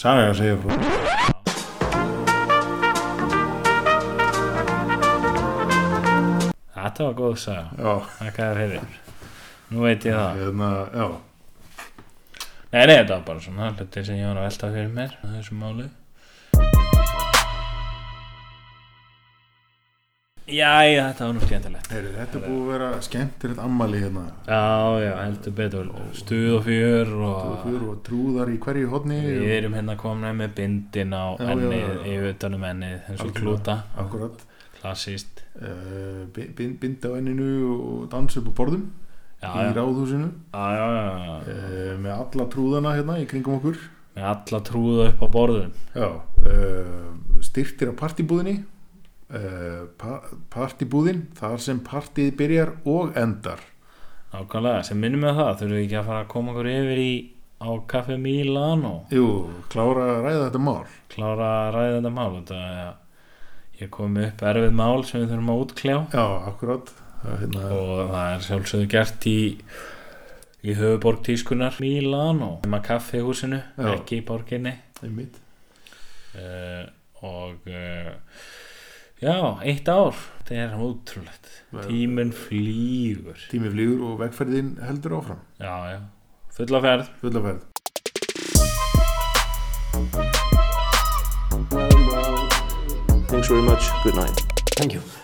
Saga að segja frá
Þetta var góð að segja,
Já,
þakka þér fyrir Nú veit ég það
hérna, já
Nei, nei, þetta var bara svona hlutir sem ég var að velta fyrir mér á þessu máli Jæja, þetta var nú skemmtilegt
Heyri, Þetta er búið að vera skemmtilegt ammali hérna
Já, já, heldur betur Stuð og fjör
og
og
fyrir og trúðar í hverju hodni
Við erum hérna komin með bindin á
Já, já,
ennið,
já.
yfir utanum ennið eins og
Algjörlega.
klúta,
Akkurat
klassíst
uh, Binda á enninu og dansa upp á borðum í
Já, já, já,
ráðhúsinu
já, já, já.
uh, með alla trúðana hérna í kringum okkur
Með alla trúða upp á borðum
Já, uh, styrtir á partibúðinni uh, pa partibúðin þar sem partíð byrjar og endar
Nákvæmlega, sem minnum með það þurfum við ekki að fara að koma okkur yfir í á Café Milano
Jú, klára að ræða þetta mál
klára að ræða þetta mál þetta er að ég kom með upp erfið mál sem við þurfum að útkljá
Já, akkurat Það er hérna,
og það er sjálfsögðu gert í í höfuborg tískunar Milano, um að kaffihúsinu
Já.
ekki í borginni
einmitt
uh, og uh, já, eitt ár þetta er ótrúlegt
Vel-
tíminn flýgur
Tími flýgur og vegferðin heldur áfram
já, já, fulla ferð
Fullaferð
Thanks very much. Good night.
Thank you.